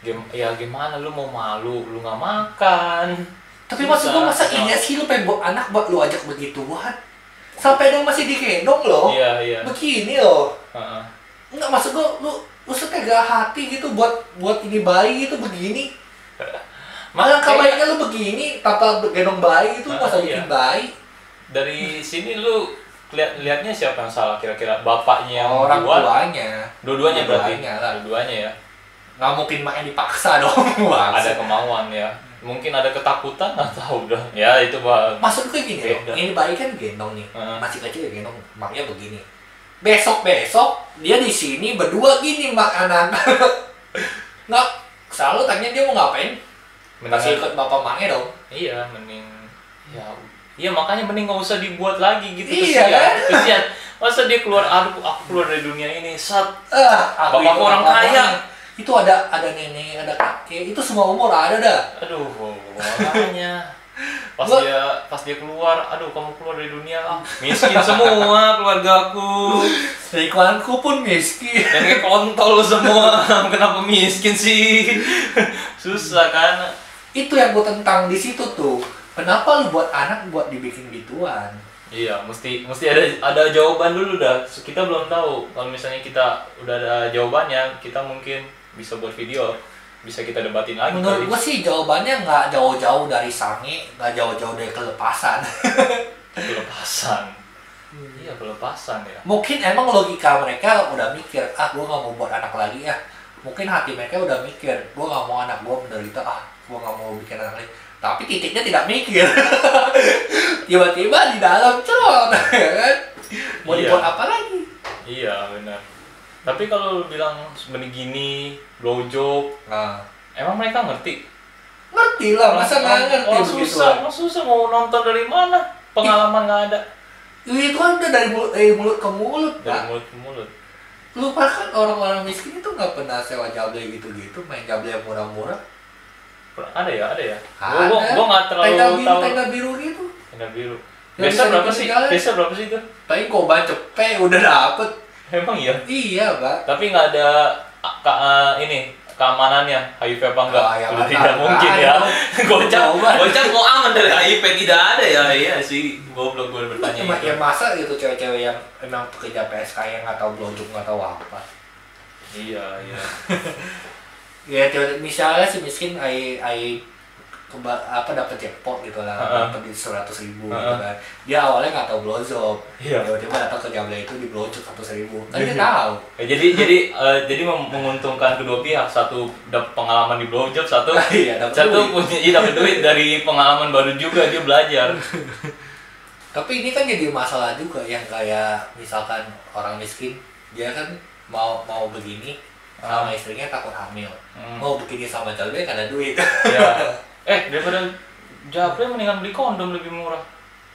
[SPEAKER 1] Gim- ya gimana lu mau malu, lu nggak makan.
[SPEAKER 2] tapi maksud gua masa
[SPEAKER 1] Susah.
[SPEAKER 2] iya sih lu pengen bawa anak buat lu ajak begituan sampai dia masih digendong loh
[SPEAKER 1] Iya iya.
[SPEAKER 2] begini loh
[SPEAKER 1] Heeh.
[SPEAKER 2] Enggak maksud gua lu lu setega hati gitu buat buat ini bayi gitu begini. Malah
[SPEAKER 1] Makanya
[SPEAKER 2] kabarnya lu begini tanpa gendong bayi itu
[SPEAKER 1] Ah,
[SPEAKER 2] masa
[SPEAKER 1] iya.
[SPEAKER 2] bikin bayi.
[SPEAKER 1] dari sini lu lihat lihatnya siapa yang salah kira-kira bapaknya yang
[SPEAKER 2] Orang
[SPEAKER 1] buat?
[SPEAKER 2] tuanya.
[SPEAKER 1] Dua-duanya berarti.
[SPEAKER 2] Dua-duanya lah.
[SPEAKER 1] Dua-duanya ya.
[SPEAKER 2] Nggak mungkin main dipaksa dong.
[SPEAKER 1] Ada
[SPEAKER 2] Maksud,
[SPEAKER 1] kemauan ya. Mungkin ada ketakutan atau udah. Ya itu bah.
[SPEAKER 2] maksud gue gini loh,
[SPEAKER 1] Beda.
[SPEAKER 2] ini bayi kan gendong nih.
[SPEAKER 1] Ah.
[SPEAKER 2] Masih kecil ya gendong, maknya begini. Besok-besok dia di sini berdua gini mak anak. nggak Nah, selalu tanya dia mau ngapain pasti
[SPEAKER 1] Mendingan-
[SPEAKER 2] ikut bapak mangnya dong
[SPEAKER 1] iya mending ya iya makanya mending nggak usah dibuat lagi gitu
[SPEAKER 2] Iya,
[SPEAKER 1] kesian
[SPEAKER 2] kan?
[SPEAKER 1] kesian masa dia keluar aduh aku keluar dari dunia ini sat
[SPEAKER 2] ah aku
[SPEAKER 1] Bapak
[SPEAKER 2] ikut
[SPEAKER 1] orang
[SPEAKER 2] bapak
[SPEAKER 1] kaya.
[SPEAKER 2] mangnya. itu ada ada nenek ada kakek itu semua umur ada dah
[SPEAKER 1] aduh makanya pas
[SPEAKER 2] Gua-
[SPEAKER 1] dia pas dia keluar aduh kamu keluar dari dunia ah miskin semua keluargaku
[SPEAKER 2] dari klanku pun miskin
[SPEAKER 1] dan kayak kontol semua kenapa miskin sih susah kan
[SPEAKER 2] itu yang gue tentang di situ tuh kenapa lu buat anak buat dibikin gituan
[SPEAKER 1] Iya, mesti mesti ada ada jawaban dulu dah. Kita belum tahu. Kalau misalnya kita udah ada jawabannya, kita mungkin bisa buat video, bisa kita debatin lagi.
[SPEAKER 2] menurut
[SPEAKER 1] kali.
[SPEAKER 2] gue sih jawabannya nggak jauh-jauh dari sange nggak jauh-jauh dari kelepasan
[SPEAKER 1] kelepasan.
[SPEAKER 2] Hmm.
[SPEAKER 1] Iya, kelepasan ya.
[SPEAKER 2] mungkin emang logika mereka udah mikir ah gue nggak mau buat anak lagi ya mungkin hati mereka udah mikir gue nggak mau anak gue menderita ah gue nggak mau bikin anak lagi tapi titiknya tidak mikir tiba-tiba di dalam cerot ya kan mau
[SPEAKER 1] Iya.
[SPEAKER 2] dibuat apa lagi
[SPEAKER 1] Iya, benar. Tapi kalau lu bilang mending gini, blow job,
[SPEAKER 2] nah
[SPEAKER 1] emang mereka ngerti?
[SPEAKER 2] ngerti lah masa nggak
[SPEAKER 1] Orang-
[SPEAKER 2] ngerti
[SPEAKER 1] orang
[SPEAKER 2] begitu kan?
[SPEAKER 1] susah, orang susah mau nonton dari mana? Pengalaman nggak ada
[SPEAKER 2] itu kan udah dari mulut, dari mulut ke mulut
[SPEAKER 1] dari
[SPEAKER 2] pak
[SPEAKER 1] mulut ke mulut.
[SPEAKER 2] lu kan orang-orang miskin itu nggak pernah sewa jable gitu-gitu main jable yang murah-murah
[SPEAKER 1] Ada ya, ada ya. Gua gua, gua nggak terlalu
[SPEAKER 2] tenda biru,
[SPEAKER 1] tahu.
[SPEAKER 2] tenda biru gitu
[SPEAKER 1] Tenda biru.
[SPEAKER 2] Yang
[SPEAKER 1] Biasa
[SPEAKER 2] bisa
[SPEAKER 1] berapa
[SPEAKER 2] dibikin
[SPEAKER 1] sih?
[SPEAKER 2] jalan.
[SPEAKER 1] Biasa berapa sih itu?
[SPEAKER 2] Tapi koba cepe udah dapet.
[SPEAKER 1] Emang iya.
[SPEAKER 2] Iya, Pak.
[SPEAKER 1] Tapi nggak ada ah, ka- ah, ini keamanannya HIV apa Oh, enggak?
[SPEAKER 2] Ah, ya,
[SPEAKER 1] Udah
[SPEAKER 2] nggak
[SPEAKER 1] tidak
[SPEAKER 2] tahu.
[SPEAKER 1] mungkin
[SPEAKER 2] Ah,
[SPEAKER 1] ya.
[SPEAKER 2] tahu.
[SPEAKER 1] Gocap,
[SPEAKER 2] Coba.
[SPEAKER 1] gocap mau aman dari HIV tidak ada ya. Iya sih, goblok gue bertanya
[SPEAKER 2] Cuma
[SPEAKER 1] itu.
[SPEAKER 2] ya masa gitu cewek-cewek yang emang pekerja PSK yang nggak tahu blowjob nggak tahu apa.
[SPEAKER 1] Iya, iya.
[SPEAKER 2] Ya cewek- misalnya si miskin ai ai keba, apa dapat jackpot gitu lah,
[SPEAKER 1] Heeh.
[SPEAKER 2] dapat duit seratus ribu gitu
[SPEAKER 1] Heeh.
[SPEAKER 2] kan. Dia awalnya nggak tahu blowjob,
[SPEAKER 1] Iya.
[SPEAKER 2] tiba-tiba datang ke jabla itu di blowjob seratus ribu. Kan dia tahu.
[SPEAKER 1] Ya, jadi jadi eh, jadi mem- menguntungkan kedua pihak satu dapat pengalaman di blowjob satu
[SPEAKER 2] Iya, dapat
[SPEAKER 1] satu
[SPEAKER 2] duit.
[SPEAKER 1] punya iya, dapat duit dari pengalaman baru juga dia belajar
[SPEAKER 2] Tapi ini kan jadi masalah juga yang kayak misalkan orang miskin dia kan mau mau begini sama istrinya takut hamil.
[SPEAKER 1] Ah. Hmm.
[SPEAKER 2] Mau begini sama calonnya karena duit.
[SPEAKER 1] ya eh daripada japri mendingan beli kondom lebih murah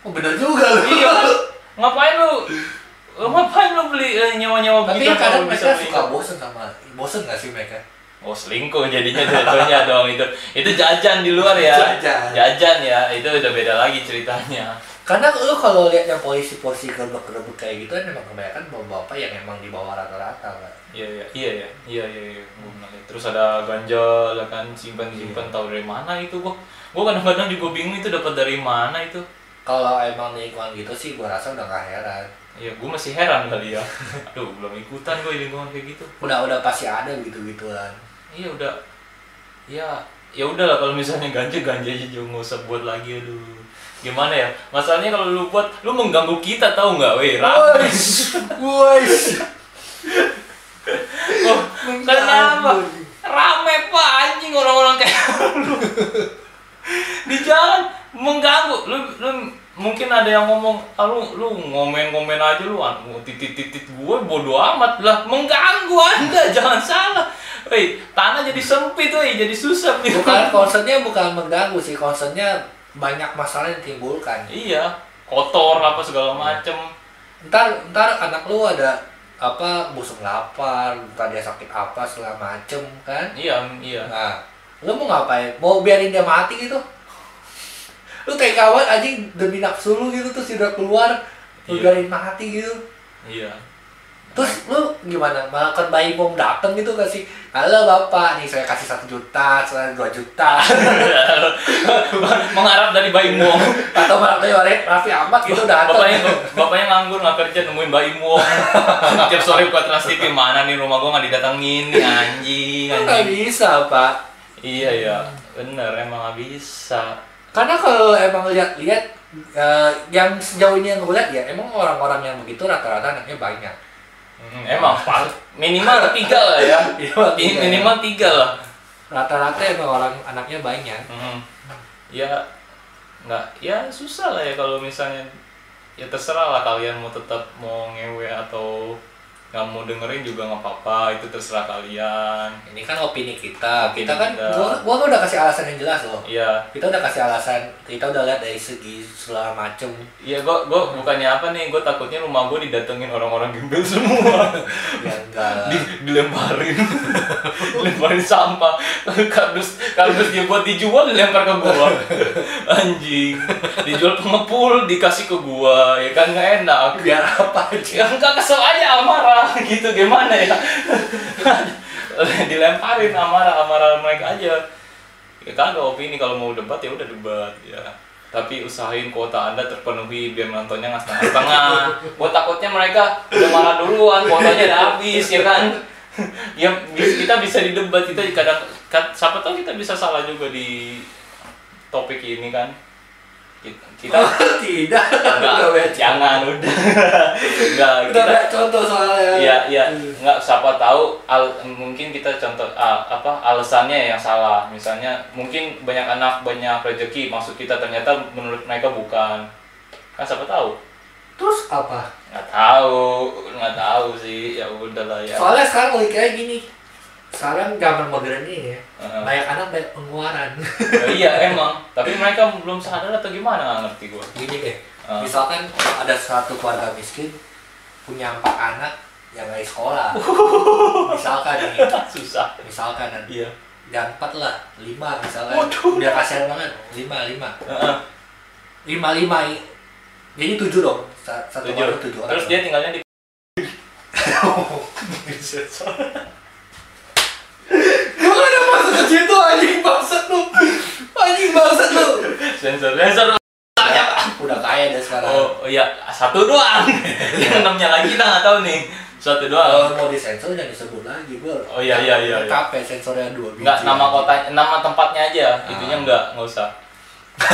[SPEAKER 2] Oh bener juga lu.
[SPEAKER 1] iya kan? ngapain lu lu ngapain lu beli eh, nyawa-nyawa
[SPEAKER 2] Tapi
[SPEAKER 1] begitu kalau
[SPEAKER 2] kadang mereka
[SPEAKER 1] beli?
[SPEAKER 2] suka bosen sama bosen gak sih mereka?
[SPEAKER 1] oh selingkuh jadinya jatuhnya dong itu itu jajan di luar ya
[SPEAKER 2] Jajan.
[SPEAKER 1] jajan ya itu udah beda lagi ceritanya
[SPEAKER 2] Karena lu kalau lihat yang polisi-polisi gerbek-gerbek kayak gitu kan emang kebanyakan bapak-bapak yang emang di bawah rata-rata kan.
[SPEAKER 1] iya iya iya iya iya iya iya Gua pernah liat. terus ada ganja lah kan simpan
[SPEAKER 2] Iya.
[SPEAKER 1] simpan tahu dari mana itu gua gua kadang-kadang juga bingung itu dapat dari mana itu
[SPEAKER 2] Kalau emang lingkungan gitu sih gua rasa udah gak heran.
[SPEAKER 1] ya gua masih heran kali ya aduh belum ikutan gua di lingkungan kayak gitu
[SPEAKER 2] Udah udah pasti ada gitu-gituan.
[SPEAKER 1] Iya udah. Ya, ya udah lah kalau misalnya ganja ganja aja jangan nggak usah buat lagi aduh. Gimana ya? Masalahnya kalau lu buat, lu mengganggu kita tahu nggak, weh? Rame.
[SPEAKER 2] Wais.
[SPEAKER 1] Oh, kenapa? Rame pak anjing orang-orang kayak lu. Di jalan mengganggu. Lu, lu mungkin ada yang ngomong, ah, lu, lu ngomen-ngomen aja lu, an- titit-titit gue bodo amat lah, mengganggu anda, jangan salah. Weh, tanah jadi sempit, weh, jadi susah. beli
[SPEAKER 2] Bukan concernnya bukan mengganggu sih, concernnya banyak masalah yang timbulkan.
[SPEAKER 1] Iya, kotor apa segala macem.
[SPEAKER 2] ntar ntar anak lu ada apa busuk lapar ntar dia sakit apa segala macem kan
[SPEAKER 1] Iya, iya.
[SPEAKER 2] nah lu mau ngapain mau biarin dia mati gitu lu tega banget anjing demi nafsu lu gitu terus dia udah keluar lu
[SPEAKER 1] Iya.
[SPEAKER 2] biarin mati gitu
[SPEAKER 1] Iya.
[SPEAKER 2] terus lu gimana makan bayi bom dateng gitu kasih halo bapak nih saya kasih satu juta saya dua juta
[SPEAKER 1] Mengharap dari bayi muong.
[SPEAKER 2] atau malah kayak Raffi- Raffi Ahmad gitu dateng
[SPEAKER 1] Bapaknya, bapaknya nganggur nggak kerja nemuin bayi muong. Tiap sore buka trans TV mana nih rumah gua nggak didatengin nih anjing,
[SPEAKER 2] Lu nggak
[SPEAKER 1] anjing.
[SPEAKER 2] bisa pak
[SPEAKER 1] Iya ya, bener emang nggak bisa.
[SPEAKER 2] Karena kalau emang lihat-lihat eh, yang sejauh ini yang gue lihat ya emang orang-orang yang begitu rata-rata anaknya banyak.
[SPEAKER 1] Mm, Emang pal- minimal tiga lah ya.
[SPEAKER 2] Iya,
[SPEAKER 1] Min-
[SPEAKER 2] tiga.
[SPEAKER 1] Minimal tiga lah.
[SPEAKER 2] Rata-rata emang orang anaknya banyak.
[SPEAKER 1] Mm. Ya nggak, ya susah lah ya kalau misalnya ya terserah lah kalian mau tetap mau ngewe atau nggak mau dengerin juga nggak apa-apa itu terserah kalian
[SPEAKER 2] Ini kan opini kita.
[SPEAKER 1] Opini
[SPEAKER 2] kita kan
[SPEAKER 1] kita.
[SPEAKER 2] gua gua kan udah kasih alasan yang jelas loh.
[SPEAKER 1] iya
[SPEAKER 2] Kita udah kasih alasan, kita udah lihat dari segi segala macem
[SPEAKER 1] iya gua gua bukannya apa nih gua takutnya rumah gua didatengin orang-orang gembel semua
[SPEAKER 2] ya enggak.
[SPEAKER 1] Di, dilemparin dilemparin sampah kardus kardus dia buat dijual dilempar ke gua anjing dijual pengepul dikasih ke gua ya kan nggak enak
[SPEAKER 2] Biar apa aja.
[SPEAKER 1] ya enggak kesel aja amarah gitu gimana ya dilemparin amarah amarah mereka aja ya kagak opini kalau mau debat ya udah debat ya tapi usahain kuota anda terpenuhi biar nontonnya nggak setengah-setengah gua takutnya mereka udah marah duluan kuotanya udah habis ya kan ya bi- kita bisa didebat kita kadang kad- siapa tahu kita bisa salah juga di topik ini kan kita, kita
[SPEAKER 2] kan Tidak. Udah
[SPEAKER 1] enggak,
[SPEAKER 2] banyak
[SPEAKER 1] jangan udah enggak
[SPEAKER 2] Udah
[SPEAKER 1] kita
[SPEAKER 2] banyak contoh soalnya.
[SPEAKER 1] Iya, iya.
[SPEAKER 2] Hmm.
[SPEAKER 1] Nggak siapa tahu al- mungkin kita contoh ah, apa alasannya yang salah. Misalnya mungkin banyak anak, banyak rezeki maksud kita ternyata menurut mereka bukan. Kan siapa tahu?
[SPEAKER 2] Terus apa?
[SPEAKER 1] Nggak tahu, nggak tahu sih. Ya udahlah ya.
[SPEAKER 2] Soalnya sekarang logikanya gini. Sekarang zaman modern ini ya,
[SPEAKER 1] Heeh.
[SPEAKER 2] banyak anak banyak pengeluaran.
[SPEAKER 1] Ya Eh, iya emang, tapi mereka belum sadar atau gimana nggak ngerti gua.
[SPEAKER 2] gini deh,
[SPEAKER 1] Ah.
[SPEAKER 2] misalkan ada satu keluarga miskin punya empat anak yang nggak sekolah. misalkan nih,
[SPEAKER 1] Susah.
[SPEAKER 2] misalkan dan
[SPEAKER 1] Iya.
[SPEAKER 2] dan empat lah, lima misalkan.
[SPEAKER 1] Waduh.
[SPEAKER 2] Udah kasihan banget, lima lima,
[SPEAKER 1] Heeh,
[SPEAKER 2] lima lima. i- Jadi tujuh dong, Sa- satu
[SPEAKER 1] tujuh.
[SPEAKER 2] keluarga tujuh orang.
[SPEAKER 1] Terus dia tinggalnya di
[SPEAKER 2] Iya. Gua gak ada maksud ke situ anjing bangsat lu. Anjing bangsat lu.
[SPEAKER 1] sensor sensor.
[SPEAKER 2] Udah kaya dah sekarang.
[SPEAKER 1] Oh iya, satu doang. Yang enamnya lagi kita nggak tahu nih. Satu doang.
[SPEAKER 2] Kalau mau disensor jangan disebut lagi, bro.
[SPEAKER 1] Oh, iya, iya, iya, iya.
[SPEAKER 2] Capek sensornya dua biji.
[SPEAKER 1] Enggak nama kota, nama tempatnya aja. Itunya enggak, enggak usah.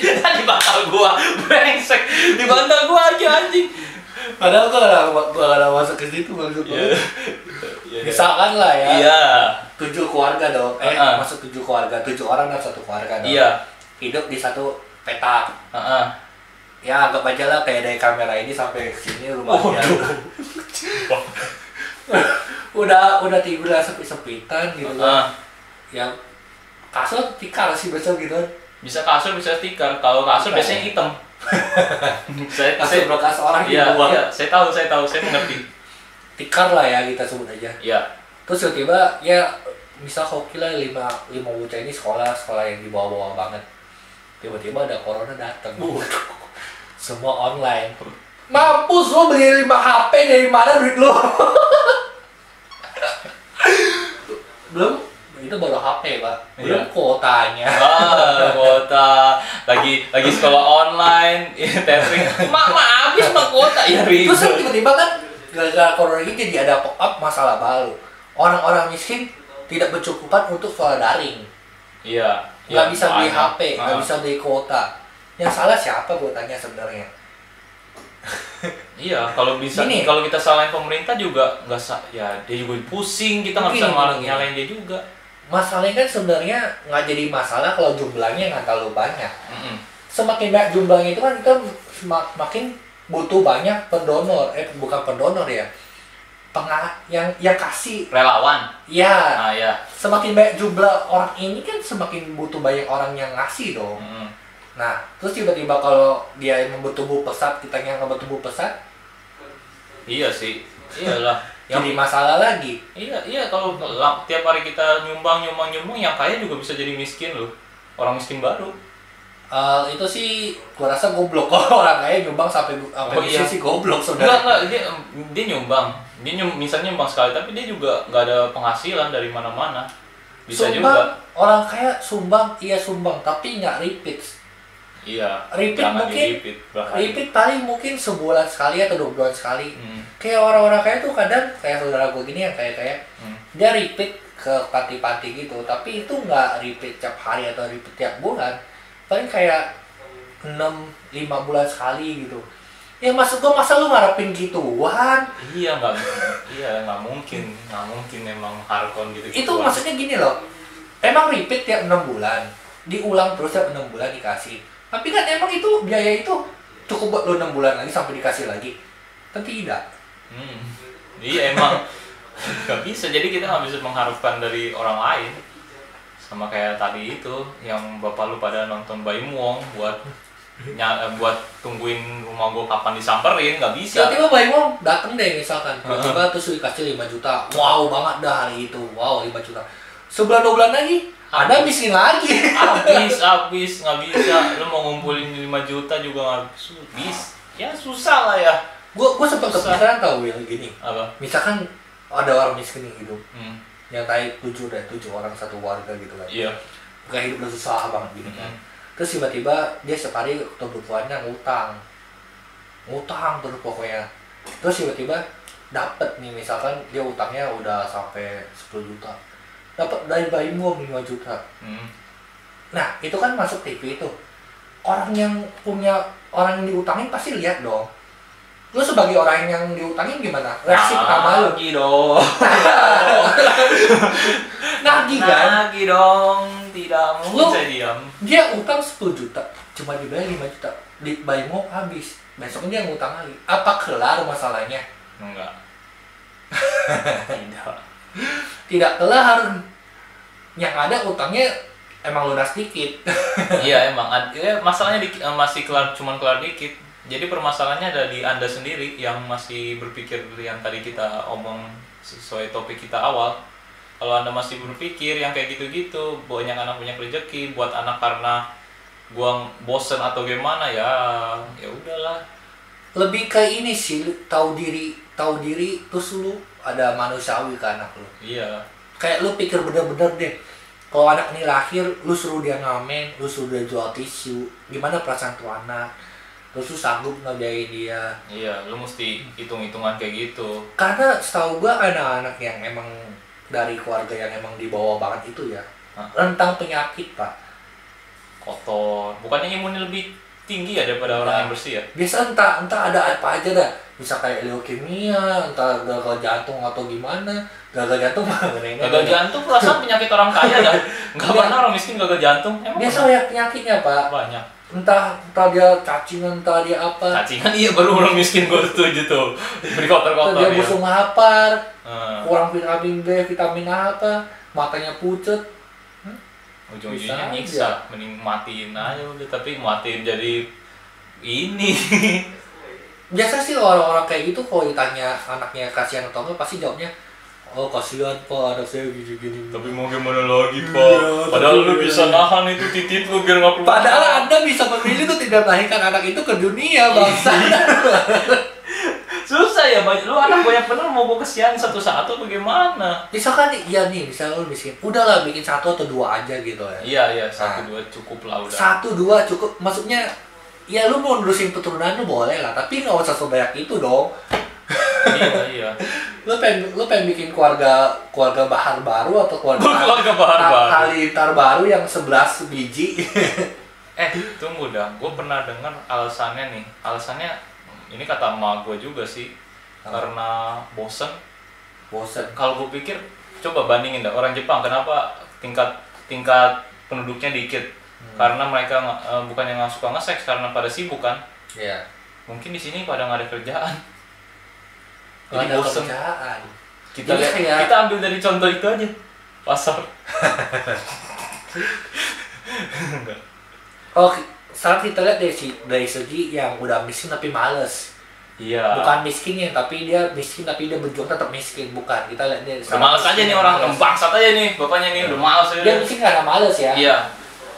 [SPEAKER 1] Tadi bakal gua brengsek di bantal gua aja anjing.
[SPEAKER 2] Padahal gua gak, gua gak ada masuk ke situ maksud gua.
[SPEAKER 1] Iya.
[SPEAKER 2] Misalkan lah ya,
[SPEAKER 1] Iya.
[SPEAKER 2] tujuh keluarga dong. Eh,
[SPEAKER 1] Heeh.
[SPEAKER 2] masuk tujuh keluarga, tujuh orang dalam satu keluarga dong.
[SPEAKER 1] Iya.
[SPEAKER 2] Hidup di satu peta.
[SPEAKER 1] Heeh.
[SPEAKER 2] Ya anggap aja lah kayak dari kamera ini sampai ke sini rumahnya.
[SPEAKER 1] Wah.
[SPEAKER 2] udah udah tidur lah sepi-sepitan gitu
[SPEAKER 1] Heeh.
[SPEAKER 2] kan. Ya kasur tikar sih besok gitu.
[SPEAKER 1] Bisa kasur, bisa tikar. Kalau kasur biasanya hitam. saya
[SPEAKER 2] Kasur
[SPEAKER 1] saya
[SPEAKER 2] bekas orang di
[SPEAKER 1] Iya,
[SPEAKER 2] bawah.
[SPEAKER 1] iya, saya tahu, saya tahu, saya mengerti.
[SPEAKER 2] Tikar lah ya kita sebut aja.
[SPEAKER 1] Iya.
[SPEAKER 2] terus tiba-tiba ya misal hoki lah lima lima bocah ini sekolah sekolah yang di bawah-bawah banget tiba-tiba ada corona datang semua online mampus lo beli 5 HP dari mana duit lo belum itu baru HP pak belum
[SPEAKER 1] Iya.
[SPEAKER 2] kuotanya
[SPEAKER 1] Ah, kuota lagi lagi sekolah online, tethering. Mak, mak habis mak kuota ya ribet.
[SPEAKER 2] Terus kan tiba-tiba kan gara-gara corona ini jadi ada pop up masalah baru. Orang-orang miskin tidak bercukupan untuk sekolah daring.
[SPEAKER 1] Iya.
[SPEAKER 2] nggak
[SPEAKER 1] iya,
[SPEAKER 2] bisa beli
[SPEAKER 1] banyak.
[SPEAKER 2] HP, nggak
[SPEAKER 1] Ah.
[SPEAKER 2] bisa beli kuota. Yang salah siapa gue tanya sebenarnya?
[SPEAKER 1] Iya, kalau bisa
[SPEAKER 2] Gini.
[SPEAKER 1] kalau kita salahin pemerintah juga nggak sa- ya dia juga pusing, kita nggak bisa
[SPEAKER 2] Gini,
[SPEAKER 1] malah
[SPEAKER 2] gini.
[SPEAKER 1] nyalain dia juga.
[SPEAKER 2] Masalahnya kan sebenarnya nggak jadi masalah kalau jumlahnya nggak terlalu banyak.
[SPEAKER 1] Mm-mm.
[SPEAKER 2] Semakin banyak jumlahnya itu kan kita semakin butuh banyak pendonor, eh bukan pendonor ya, penga yang yang kasih.
[SPEAKER 1] Relawan.
[SPEAKER 2] Ya,
[SPEAKER 1] Nah, ya.
[SPEAKER 2] semakin banyak jumlah orang ini kan semakin butuh banyak orang yang ngasih dong.
[SPEAKER 1] Mm-mm.
[SPEAKER 2] Nah, terus tiba-tiba kalau dia yang bertumbuh pesat, kita yang nggak bertumbuh pesat,
[SPEAKER 1] Iya sih. Iyalah. yang
[SPEAKER 2] jadi masalah lagi.
[SPEAKER 1] iya, iya kalau la- tiap hari kita nyumbang nyumbang nyumbang yang kaya juga bisa jadi miskin loh. Orang miskin baru.
[SPEAKER 2] Eh, itu sih gua rasa goblok kalau orang kaya nyumbang sampai sampai
[SPEAKER 1] Oh,
[SPEAKER 2] miskin
[SPEAKER 1] iya.
[SPEAKER 2] sih goblok
[SPEAKER 1] Enggak,
[SPEAKER 2] saudara.
[SPEAKER 1] enggak, dia, dia nyumbang. Dia nyum, misalnya nyumbang sekali, tapi dia juga nggak ada penghasilan dari mana-mana. Bisa
[SPEAKER 2] sumbang,
[SPEAKER 1] juga.
[SPEAKER 2] orang kaya sumbang, iya sumbang, tapi nggak repeat.
[SPEAKER 1] Iya.
[SPEAKER 2] Repeat
[SPEAKER 1] jangan
[SPEAKER 2] mungkin.
[SPEAKER 1] di-repeat, bahaya.
[SPEAKER 2] Repeat paling mungkin sebulan sekali atau dua bulan sekali.
[SPEAKER 1] Mm,
[SPEAKER 2] Kayak orang-orang kaya tuh kadang kayak saudara gua gini yang kayak kaya
[SPEAKER 1] mm.
[SPEAKER 2] dia repeat ke panti-panti gitu, tapi itu nggak repeat tiap hari atau repeat tiap bulan. Paling kayak 6 5 bulan sekali gitu. Ya maksud gua masa lu ngarepin gituan?
[SPEAKER 1] Iya nggak, iya nggak mungkin, nggak mungkin emang harkon gitu.
[SPEAKER 2] itu maksudnya gini loh emang repeat tiap enam bulan diulang terus tiap enam bulan dikasih tapi kan emang itu biaya itu cukup buat lo enam bulan lagi sampai dikasih lagi tapi tidak
[SPEAKER 1] Hmm. Iya emang nggak bisa. Jadi kita nggak bisa mengharapkan dari orang lain. Sama kayak tadi itu yang bapak lu pada nonton Baim Wong buat nya- eh, buat tungguin rumah gua kapan disamperin nggak bisa.
[SPEAKER 2] tiba-tiba Bayi Wong dateng deh misalkan tiba-tiba terus dikasih 5 juta wow banget dah hari itu wow 5 juta sebulan dua bulan lagi ada miskin lagi
[SPEAKER 1] Abis, abis, nggak bisa. Lu mau ngumpulin 5 juta juga nggak su- bis. Ya susah lah ya.
[SPEAKER 2] gue gue sempet
[SPEAKER 1] Susah.
[SPEAKER 2] kepikiran tau Will gini
[SPEAKER 1] Apa?
[SPEAKER 2] misalkan ada orang miskin yang hidup
[SPEAKER 1] Hmm.
[SPEAKER 2] yang tadi tujuh deh tujuh orang satu warga gitu kan
[SPEAKER 1] Iya.
[SPEAKER 2] gak hidup udah susah banget gitu kan
[SPEAKER 1] Hmm.
[SPEAKER 2] terus tiba-tiba dia setiap hari kebutuhannya ngutang ngutang terus pokoknya terus tiba-tiba dapet nih misalkan dia utangnya udah sampai 10 juta dapat dari bayi gua 5 juta
[SPEAKER 1] Hmm.
[SPEAKER 2] nah itu kan masuk TV itu orang yang punya orang yang diutangin pasti lihat dong lu sebagai orang yang diutangin gimana
[SPEAKER 1] Ah.
[SPEAKER 2] reaksi pertama lu
[SPEAKER 1] Nagih Nah, dong.
[SPEAKER 2] nagih
[SPEAKER 1] Nah.
[SPEAKER 2] kan
[SPEAKER 1] Nagih dong. Tidak mungkin
[SPEAKER 2] Lu-
[SPEAKER 1] saya diam.
[SPEAKER 2] dia utang 10 juta cuma dibayar 5 juta di bayi mau habis besoknya dia ngutang lagi apa kelar masalahnya
[SPEAKER 1] Enggak. Tidak.
[SPEAKER 2] tidak kelar yang ada utangnya emang lunas dikit
[SPEAKER 1] Iya emang. ad- ya, masalahnya dikit- eh, masih kelar, cuman kelar dikit. Jadi permasalahannya ada di anda sendiri yang masih berpikir yang tadi kita omong sesuai topik kita awal. Kalau anda masih berpikir yang kayak gitu-gitu, banyak anak punya rezeki buat anak karena gua bosen atau gimana ya, ya udahlah.
[SPEAKER 2] lebih ke ini sih lu tahu diri tahu diri terus lu ada manusiawi ke anak lu
[SPEAKER 1] Iya.
[SPEAKER 2] kayak lu pikir bener-bener deh kalau anak ini lahir lu suruh dia ngamen lu suruh dia jual tisu gimana perasaan tuh anak terus lu sanggup ngebiayain dia
[SPEAKER 1] Iya, lu mesti hitung-hitungan kayak gitu.
[SPEAKER 2] karena setahu gua anak-anak yang emang dari keluarga yang emang dibawa banget itu ya
[SPEAKER 1] Hah?
[SPEAKER 2] rentang penyakit pak
[SPEAKER 1] Kotor. Bukannya imunnya lebih tinggi ya daripada orang yang bersih ya?
[SPEAKER 2] biasa entah entah ada apa aja dah bisa kayak leukemia entah gagal jantung atau gimana gagal jantung mah neneng
[SPEAKER 1] Gagal jantung perasaan penyakit orang kaya dah. Enggak pernah orang miskin gagal jantung. Emang
[SPEAKER 2] biasa
[SPEAKER 1] pernah?
[SPEAKER 2] banyak penyakitnya pak
[SPEAKER 1] banyak.
[SPEAKER 2] entah entah dia cacingan entah dia apa
[SPEAKER 1] Cacingan iya baru orang miskin gue setuju tuh. Beri
[SPEAKER 2] entah
[SPEAKER 1] kotor-kotor
[SPEAKER 2] dia
[SPEAKER 1] ya.
[SPEAKER 2] busung lapar
[SPEAKER 1] Eh,
[SPEAKER 2] kurang vitamin B vitamin apa matanya pucet
[SPEAKER 1] Ujung-ujungnya
[SPEAKER 2] Bisa
[SPEAKER 1] nyiksa,
[SPEAKER 2] aja.
[SPEAKER 1] mending matiin aja udah tapi matiin jadi ini.
[SPEAKER 2] biasa sih orang-orang kayak gitu kalau ditanya anaknya kasihan atau enggak pasti jawabnya oh kasihan pak anak saya gini-gini
[SPEAKER 1] tapi mau gimana lagi, Pak?
[SPEAKER 2] Iya,
[SPEAKER 1] Padahal
[SPEAKER 2] tapi-
[SPEAKER 1] lu bisa nahan itu titik lu biar enggak keluar.
[SPEAKER 2] padahal anda bisa memilih tuh tidak melahirkan anak itu ke dunia bangsa
[SPEAKER 1] susah ya, banyak- lu anak banyak bener mau gue kesian satu-satu bagaimana?
[SPEAKER 2] misalkan nih, iya nih misalnya lu miskin udahlah bikin satu atau dua aja gitu ya
[SPEAKER 1] Iya, iya,
[SPEAKER 2] Ah.
[SPEAKER 1] satu dua cukup lah udah.
[SPEAKER 2] satu dua cukup maksudnya ya lu mau nerusin keturunan lu boleh lah tapi nggak usah sebanyak itu dong
[SPEAKER 1] iya, iya.
[SPEAKER 2] lu pengen lu pengen bikin keluarga keluarga bahar baru atau keluarga
[SPEAKER 1] Keluarga bahar baru.
[SPEAKER 2] halilintar baru yang 11 biji
[SPEAKER 1] Eh, tunggu dah. Gue pernah dengar alasannya nih. Alasannya ini kata emak gue juga sih.
[SPEAKER 2] Apa?
[SPEAKER 1] Karena bosen.
[SPEAKER 2] bosen
[SPEAKER 1] Kalau gue pikir, coba bandingin dah orang Jepang kenapa tingkat tingkat penduduknya dikit.
[SPEAKER 2] Hmm.
[SPEAKER 1] Karena mereka nggak- eh, bukan yang nggak suka nge-sex karena pada sibuk kan.
[SPEAKER 2] ya
[SPEAKER 1] Mungkin di sini pada nggak ada kerjaan. Jadi
[SPEAKER 2] Gak ada
[SPEAKER 1] bosen.
[SPEAKER 2] kerjaan.
[SPEAKER 1] Kita
[SPEAKER 2] Jadi
[SPEAKER 1] lihat-
[SPEAKER 2] kayak-
[SPEAKER 1] kita ambil dari contoh itu aja. Pasar. Enggak.
[SPEAKER 2] Oh, ki- sekarang kita lihat dari, si- dari segi yang udah miskin tapi males.
[SPEAKER 1] Iya.
[SPEAKER 2] Bukan miskinnya, tapi dia miskin tapi dia berjuang tetap miskin. Bukan, kita lihat dari
[SPEAKER 1] Udah males aja nih orang,
[SPEAKER 2] Males.
[SPEAKER 1] bangsat aja nih bapaknya nih, udah males aja.
[SPEAKER 2] Dia miskin karena males ya.
[SPEAKER 1] Iya.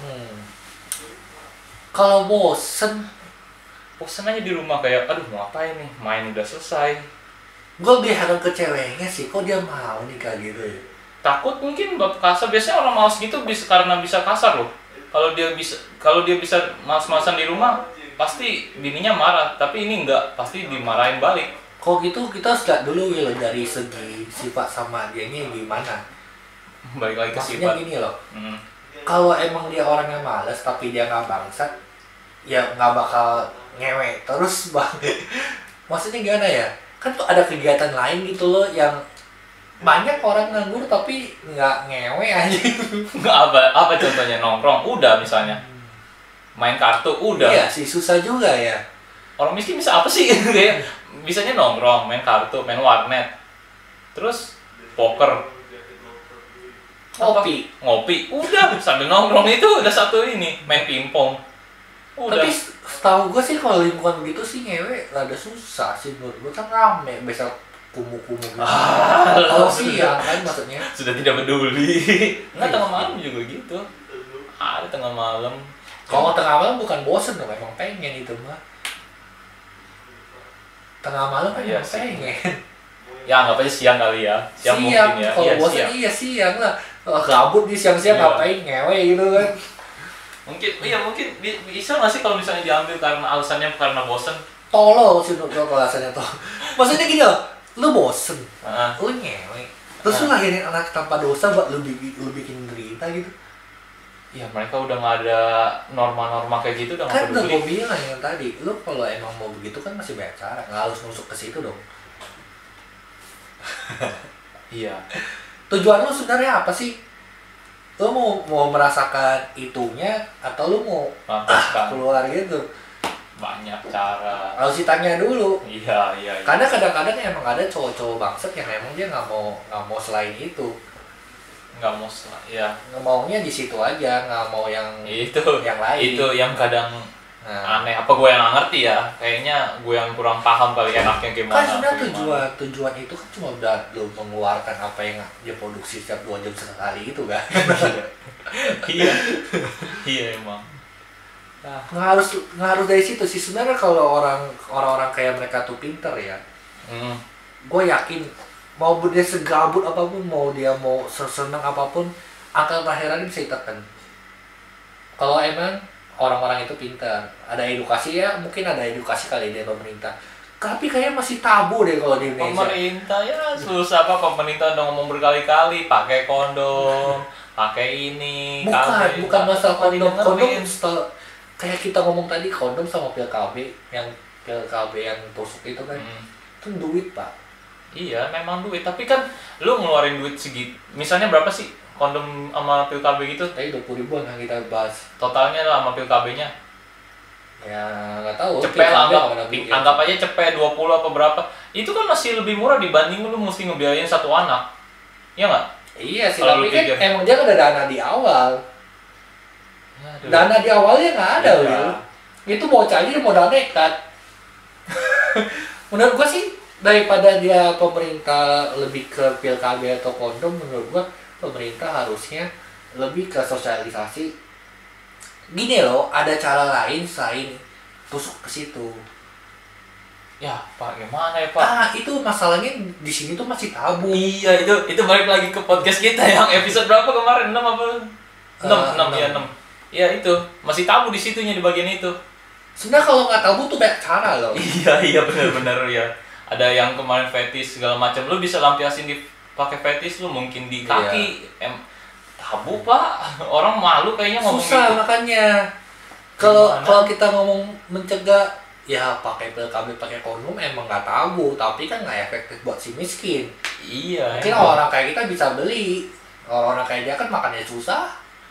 [SPEAKER 2] Hmm. Kalau bosen,
[SPEAKER 1] Bosan aja di rumah kayak, aduh mau ngapain nih, main udah selesai.
[SPEAKER 2] gue lebih harap ke ceweknya sih. Kok dia mau nikah gitu ya?
[SPEAKER 1] Takut mungkin bab kasar, biasanya orang males gitu bisa karena bisa kasar loh. Kalau dia bisa kalau dia bisa males-malesan di rumah, pasti bininya marah, tapi ini enggak, pasti dimarahin balik.
[SPEAKER 2] Kalau gitu kita harus lihat dulu Will dari segi sifat sama dianya gimana.
[SPEAKER 1] Balik lagi ke
[SPEAKER 2] Maksudnya
[SPEAKER 1] sifat.
[SPEAKER 2] gini loh,
[SPEAKER 1] Hmm.
[SPEAKER 2] kalau emang dia orangnya males tapi dia nggak bangsat ya nggak bakal ngewe terus bang maksudnya gimana ya kan tuh ada kegiatan lain gitu loh yang banyak orang nganggur tapi nggak ngewe aja
[SPEAKER 1] apa apa contohnya nongkrong udah misalnya. Main kartu udah.
[SPEAKER 2] iya sih susah Iya juga ya
[SPEAKER 1] orang miskin bisa apa sih kayak bisanya nongkrong main kartu main warnet terus poker
[SPEAKER 2] kopi
[SPEAKER 1] ngopi udah sambil nongkrong itu udah satu ini main pingpong udah
[SPEAKER 2] tapi setahu gue sih kalau lingkungan gitu sih ngewe rada susah sih menurut gue kan rame biasa kumuh-kumuh gitu
[SPEAKER 1] Ah,
[SPEAKER 2] kalau
[SPEAKER 1] lo
[SPEAKER 2] siang kan maksudnya
[SPEAKER 1] sudah tidak peduli nggak
[SPEAKER 2] Iya.
[SPEAKER 1] tengah malam juga gitu ada tengah malam
[SPEAKER 2] kalau tengah malam bukan bosen dong emang pengen itu mah tengah malam kan
[SPEAKER 1] Iya
[SPEAKER 2] emang
[SPEAKER 1] sih.
[SPEAKER 2] pengen
[SPEAKER 1] ya anggap aja siang kali ya siang,
[SPEAKER 2] siang,
[SPEAKER 1] mungkin ya
[SPEAKER 2] kalau
[SPEAKER 1] Iya,
[SPEAKER 2] bosan
[SPEAKER 1] siang.
[SPEAKER 2] iya siang lah Kalau kabut di siang-siang
[SPEAKER 1] Iya.
[SPEAKER 2] ngapain ngewe gitu kan
[SPEAKER 1] mungkin iya mungkin bi- bisa nggak sih kalau misalnya diambil karena alasannya karena bosen
[SPEAKER 2] tolol sih menurut gue alasannya tolol maksudnya gini loh lu bosen
[SPEAKER 1] Ah,
[SPEAKER 2] lu nyewe terus
[SPEAKER 1] Iya.
[SPEAKER 2] lu lahirin anak tanpa dosa buat lu, bikin- lu bikin derita gitu
[SPEAKER 1] ya mereka udah nggak ada norma-norma kayak gitu udah nggak
[SPEAKER 2] kan udah gue
[SPEAKER 1] peduli
[SPEAKER 2] bilang yang tadi lu kalau emang mau begitu kan masih banyak cara nggak harus nusuk ke situ dong
[SPEAKER 1] iya
[SPEAKER 2] tujuan lu sebenarnya apa sih lu mau mau merasakan itunya atau lu mau
[SPEAKER 1] pantas kan
[SPEAKER 2] keluar gitu
[SPEAKER 1] banyak cara
[SPEAKER 2] harus ditanya dulu
[SPEAKER 1] iya iya iya
[SPEAKER 2] karena kadang-kadang emang ada cowok-cowok bangsat yang emang dia nggak mau nggak mau selain itu
[SPEAKER 1] nggak mau sel- ya
[SPEAKER 2] nggak maunya di situ aja nggak mau yang
[SPEAKER 1] itu
[SPEAKER 2] yang lain
[SPEAKER 1] itu yang kadang
[SPEAKER 2] nah,
[SPEAKER 1] aneh apa gue yang nggak ngerti ya kayaknya gue yang kurang paham kali ya enaknya gimana
[SPEAKER 2] kan sebenarnya
[SPEAKER 1] atau gimana.
[SPEAKER 2] tujuan tujuan itu kan cuma udah lo mengeluarkan apa yang dia produksi setiap dua jam sekali itu kan
[SPEAKER 1] iya iya emang
[SPEAKER 2] nggak harus nggak harus dari situ sih sebenarnya kalau orang orang-orang kayak mereka tuh pinter ya
[SPEAKER 1] Hmm,
[SPEAKER 2] gue yakin mau dia segabut apapun mau dia mau seseneng apapun angka terakhirannya bisa ditekan kalau emang orang-orang itu pintar ada edukasi ya mungkin ada edukasi kali dari pemerintah tapi kayaknya masih tabu deh kalau di Indonesia
[SPEAKER 1] pemerintah ya susah apa pemerintah udah ngomong berkali-kali pakai kondom pakai ini
[SPEAKER 2] bukan
[SPEAKER 1] KB.
[SPEAKER 2] bukan
[SPEAKER 1] Nggak
[SPEAKER 2] masalah kondom kondom
[SPEAKER 1] didengerin. Hmm.
[SPEAKER 2] setel- kayak kita ngomong tadi kondom sama pil KB yang pil KB yang tusuk itu kan
[SPEAKER 1] Hmm.
[SPEAKER 2] itu duit pak
[SPEAKER 1] Iya, memang duit. Tapi kan lu ngeluarin duit segitu. Misalnya berapa sih kondom sama pil KB gitu?
[SPEAKER 2] tadi dua puluh ribuan yang kita bahas
[SPEAKER 1] Totalnya lah sama pil KB-nya.
[SPEAKER 2] ya nggak tahu
[SPEAKER 1] Cepet
[SPEAKER 2] pil KB
[SPEAKER 1] lah, anggap,
[SPEAKER 2] nggak ada duit ya.
[SPEAKER 1] anggap aja cepet 20 apa berapa. Itu kan masih lebih murah dibanding lu mesti ngebiayain satu anak. Iya nggak?
[SPEAKER 2] Iya sih,
[SPEAKER 1] Kalau lu
[SPEAKER 2] tapi kan
[SPEAKER 1] pikir.
[SPEAKER 2] emang dia kan ada dana di awal.
[SPEAKER 1] Aduh.
[SPEAKER 2] Dana di awalnya nggak ada,
[SPEAKER 1] Hmm. Iya.
[SPEAKER 2] Wil. Itu bocah aja dia modal nekat. menurut gua sih, daripada dia pemerintah lebih ke pil KB atau kondom, menurut gua pemerintah harusnya lebih ke sosialisasi. Gini loh, ada cara lain selain tusuk ke situ.
[SPEAKER 1] Ya, Pak, gimana ya, Pak?
[SPEAKER 2] Ah, itu masalahnya di sini tuh masih tabu.
[SPEAKER 1] Iya, itu itu balik lagi ke podcast kita yang episode berapa kemarin? 6 apa? 6,
[SPEAKER 2] Eh,
[SPEAKER 1] 6, ya
[SPEAKER 2] enam.
[SPEAKER 1] 6. Iya, itu. Masih tabu di situnya di bagian itu.
[SPEAKER 2] Sebenarnya kalau nggak tabu tuh banyak cara loh.
[SPEAKER 1] Iya iya benar-benar ya. Ada yang kemarin fetis segala macam. Lu bisa lampiasin di pakai fetis lu mungkin di kaki. Em, tabu pak. Orang malu kayaknya ngomong
[SPEAKER 2] susah
[SPEAKER 1] gitu.
[SPEAKER 2] makanya kalau
[SPEAKER 1] Gimana?
[SPEAKER 2] kalau kita ngomong mencegah ya pakai pil KB pakai kondom emang nggak tabu tapi kan nggak efektif buat si miskin
[SPEAKER 1] Iya.
[SPEAKER 2] mungkin
[SPEAKER 1] emang.
[SPEAKER 2] orang kayak kita bisa beli orang, orang kayak dia kan makannya susah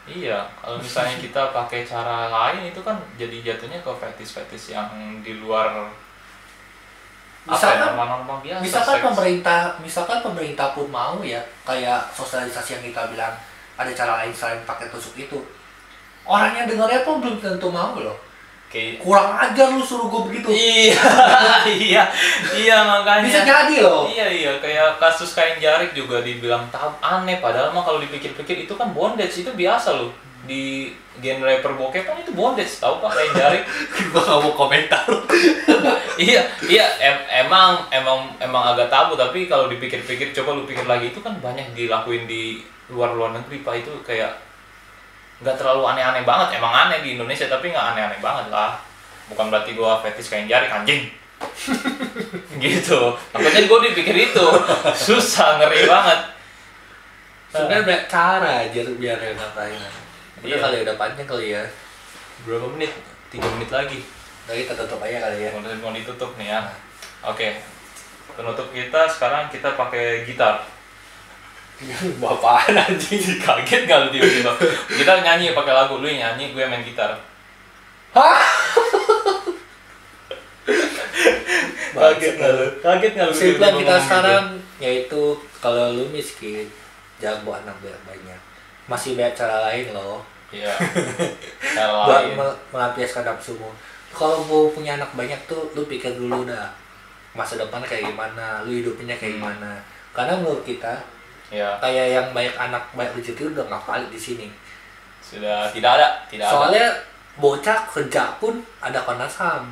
[SPEAKER 1] Iya. Kalau misalnya kita pakai cara lain itu kan jadi jatuhnya ke fetis-fetis yang di luar apa ya,
[SPEAKER 2] misalkan
[SPEAKER 1] norma-norma biasa.
[SPEAKER 2] misalkan
[SPEAKER 1] seks.
[SPEAKER 2] pemerintah misalkan pemerintah pun mau ya kayak sosialisasi yang kita bilang ada cara lain selain pakai tusuk itu orang yang dengarnya pun belum tentu mau loh
[SPEAKER 1] Kayak-
[SPEAKER 2] kurang ajar lu suruh gue begitu
[SPEAKER 1] Iya, iya, iya makanya.
[SPEAKER 2] bisa jadi loh
[SPEAKER 1] Iya iya kayak kasus kain jarik juga dibilang tahap aneh padahal mah kalau dipikir-pikir itu kan bondage itu biasa loh di genre perbokepan itu bondage tahu pak kain jarik
[SPEAKER 2] gue gak mau komentar
[SPEAKER 1] iya iya em- emang emang emang agak tabu tapi kalau dipikir-pikir coba lu pikir lagi itu kan banyak dilakuin di luar-luar negeri pak itu kayak nggak terlalu aneh-aneh banget emang aneh di Indonesia tapi nggak aneh-aneh banget lah bukan berarti gua fetish kain jari anjing gitu makanya gua dipikir itu susah ngeri banget
[SPEAKER 2] Sebenarnya banyak cara aja tuh biar yang ngapain.
[SPEAKER 1] Iya.
[SPEAKER 2] Udah kali udah panjang kali ya.
[SPEAKER 1] berapa menit tiga menit lagi
[SPEAKER 2] Udah kita tutup aja kali ya.
[SPEAKER 1] mau mau ditutup nih ya oke penutup kita sekarang kita pakai gitar
[SPEAKER 2] Bapakan anjing.
[SPEAKER 1] kaget gak lu tiba-tiba kita nyanyi pakai lagu lu yang nyanyi gue main gitar
[SPEAKER 2] Hah?
[SPEAKER 1] Kaget nggak lu? Kaget nggak lu?
[SPEAKER 2] Saya
[SPEAKER 1] Tiba-tiba
[SPEAKER 2] bilang kita
[SPEAKER 1] ngomong gitu?
[SPEAKER 2] sekarang yaitu kalau lu miskin jago anak banyak-banyak. Masih banyak cara lain loh
[SPEAKER 1] gitu? Iya. Cara
[SPEAKER 2] buat
[SPEAKER 1] lain.
[SPEAKER 2] me- melampiaskan nafsumu. Kalau mau punya anak banyak tuh lu pikir dulu dah masa depan kayak gimana, lu hidupnya kayak
[SPEAKER 1] Hmm.
[SPEAKER 2] gimana. Karena menurut kita
[SPEAKER 1] Iya.
[SPEAKER 2] kayak yang banyak anak banyak rezeki udah nggak valid di sini.
[SPEAKER 1] Sudah tidak ada, tidak ada.
[SPEAKER 2] Soalnya bocah kerja pun ada komnas ham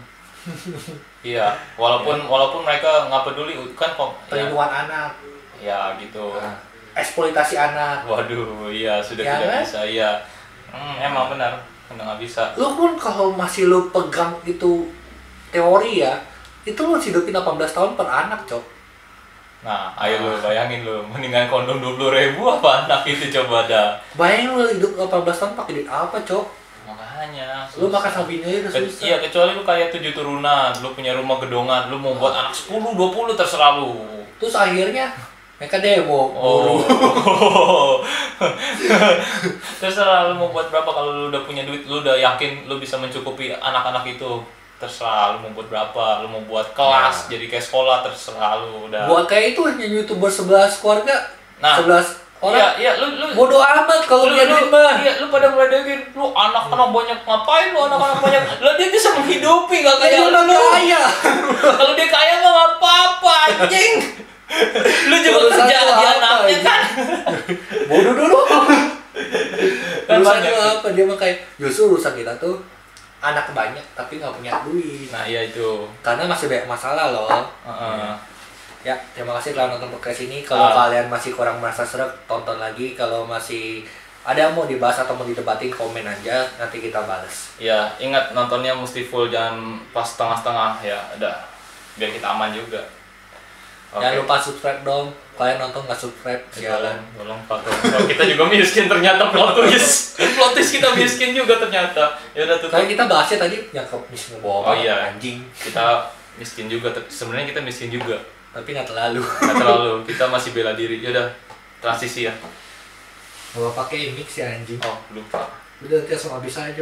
[SPEAKER 1] Iya. Walaupun walaupun mereka nggak peduli kan kok. Ya,
[SPEAKER 2] perlindungan anak,
[SPEAKER 1] ya gitu.
[SPEAKER 2] nah, eksploitasi anak.
[SPEAKER 1] Waduh, iya sudah
[SPEAKER 2] Ya
[SPEAKER 1] tidak
[SPEAKER 2] kan?
[SPEAKER 1] bisa. Iya. Hmm, emang benar. Udah nggak bisa.
[SPEAKER 2] Lu pun kalau masih lu pegang itu teori ya, itu lu harus hidupin 18 tahun per anak, Cok.
[SPEAKER 1] Nah, ayo lu bayangin lu, mendingan kondom 20 ribu apa anak itu coba dah.
[SPEAKER 2] Bayangin lu hidup 18 tahun pakai duit apa, Cok?
[SPEAKER 1] Makanya.
[SPEAKER 2] Lu
[SPEAKER 1] susah.
[SPEAKER 2] makan sapi aja udah
[SPEAKER 1] Ke-
[SPEAKER 2] susah.
[SPEAKER 1] Iya, kecuali lu kayak tujuh turunan, lu punya rumah gedongan, lu mau buat anak 10, 20 terserah lu.
[SPEAKER 2] Terus akhirnya mereka demo.
[SPEAKER 1] Oh.
[SPEAKER 2] buruh.
[SPEAKER 1] terserah lu mau buat berapa kalau lu udah punya duit, lu udah yakin lu bisa mencukupi anak-anak itu. Terserah lu mau buat berapa, lu mau buat kelas jadi kayak sekolah terserah lu udah.
[SPEAKER 2] Ya. Buat kayak itu hanya YouTuber 11 keluarga,
[SPEAKER 1] iya. Nah.
[SPEAKER 2] 11 orang.
[SPEAKER 1] Iya, iya, lu lu
[SPEAKER 2] Bodoh amat
[SPEAKER 1] lu,
[SPEAKER 2] kalau punya
[SPEAKER 1] lu,
[SPEAKER 2] duit mah.
[SPEAKER 1] iya, lu pada ngeledekin lu anak-anak banyak ngapain lu anak-anak banyak lah dia bisa menghidupi gak
[SPEAKER 2] Kayak
[SPEAKER 1] kayak
[SPEAKER 2] Iya, lu
[SPEAKER 1] lu
[SPEAKER 2] kaya.
[SPEAKER 1] kalau dia kaya mah gak apa-apa anjing lu juga
[SPEAKER 2] Urusan
[SPEAKER 1] kerja
[SPEAKER 2] lu
[SPEAKER 1] di
[SPEAKER 2] apa,
[SPEAKER 1] anaknya
[SPEAKER 2] anjing?
[SPEAKER 1] kan
[SPEAKER 2] Bodoh dulu.
[SPEAKER 1] Kan
[SPEAKER 2] Urusan
[SPEAKER 1] banyak.
[SPEAKER 2] lu apa dia mah kayak justru urusan kita tuh anak banyak tapi nggak punya duit.
[SPEAKER 1] nah iya itu
[SPEAKER 2] Karena masih banyak masalah loh.
[SPEAKER 1] Heeh.
[SPEAKER 2] Ya, terima kasih telah nonton podcast ini. Kalau
[SPEAKER 1] Ah.
[SPEAKER 2] kalian masih kurang merasa serak, tonton lagi. Kalau masih ada yang mau dibahas atau mau didebatin, komen aja. Nanti kita balas.
[SPEAKER 1] ya ingat nontonnya mesti full jangan pas tengah-tengah ya udah biar kita aman juga Oke.
[SPEAKER 2] Jangan lupa subscribe dong. Kalian nonton nggak subscribe,
[SPEAKER 1] Tolong,
[SPEAKER 2] sialan.
[SPEAKER 1] tolong Pak. Tolong. kita juga miskin ternyata plot twist. plot twist kita miskin juga ternyata. Ya udah tutup.
[SPEAKER 2] Soalnya Kan kita bahasnya tadi yang ke miskin bawa
[SPEAKER 1] Oh, iya.
[SPEAKER 2] anjing,
[SPEAKER 1] Kita miskin juga. ter- Sebenarnya kita miskin juga.
[SPEAKER 2] tapi nggak terlalu.
[SPEAKER 1] Gak terlalu, kita masih bela diri. Yaudah, transisi ya.
[SPEAKER 2] Gua pakai mix ya anjing.
[SPEAKER 1] Oh, lupa.
[SPEAKER 2] Udah nanti langsung habis aja.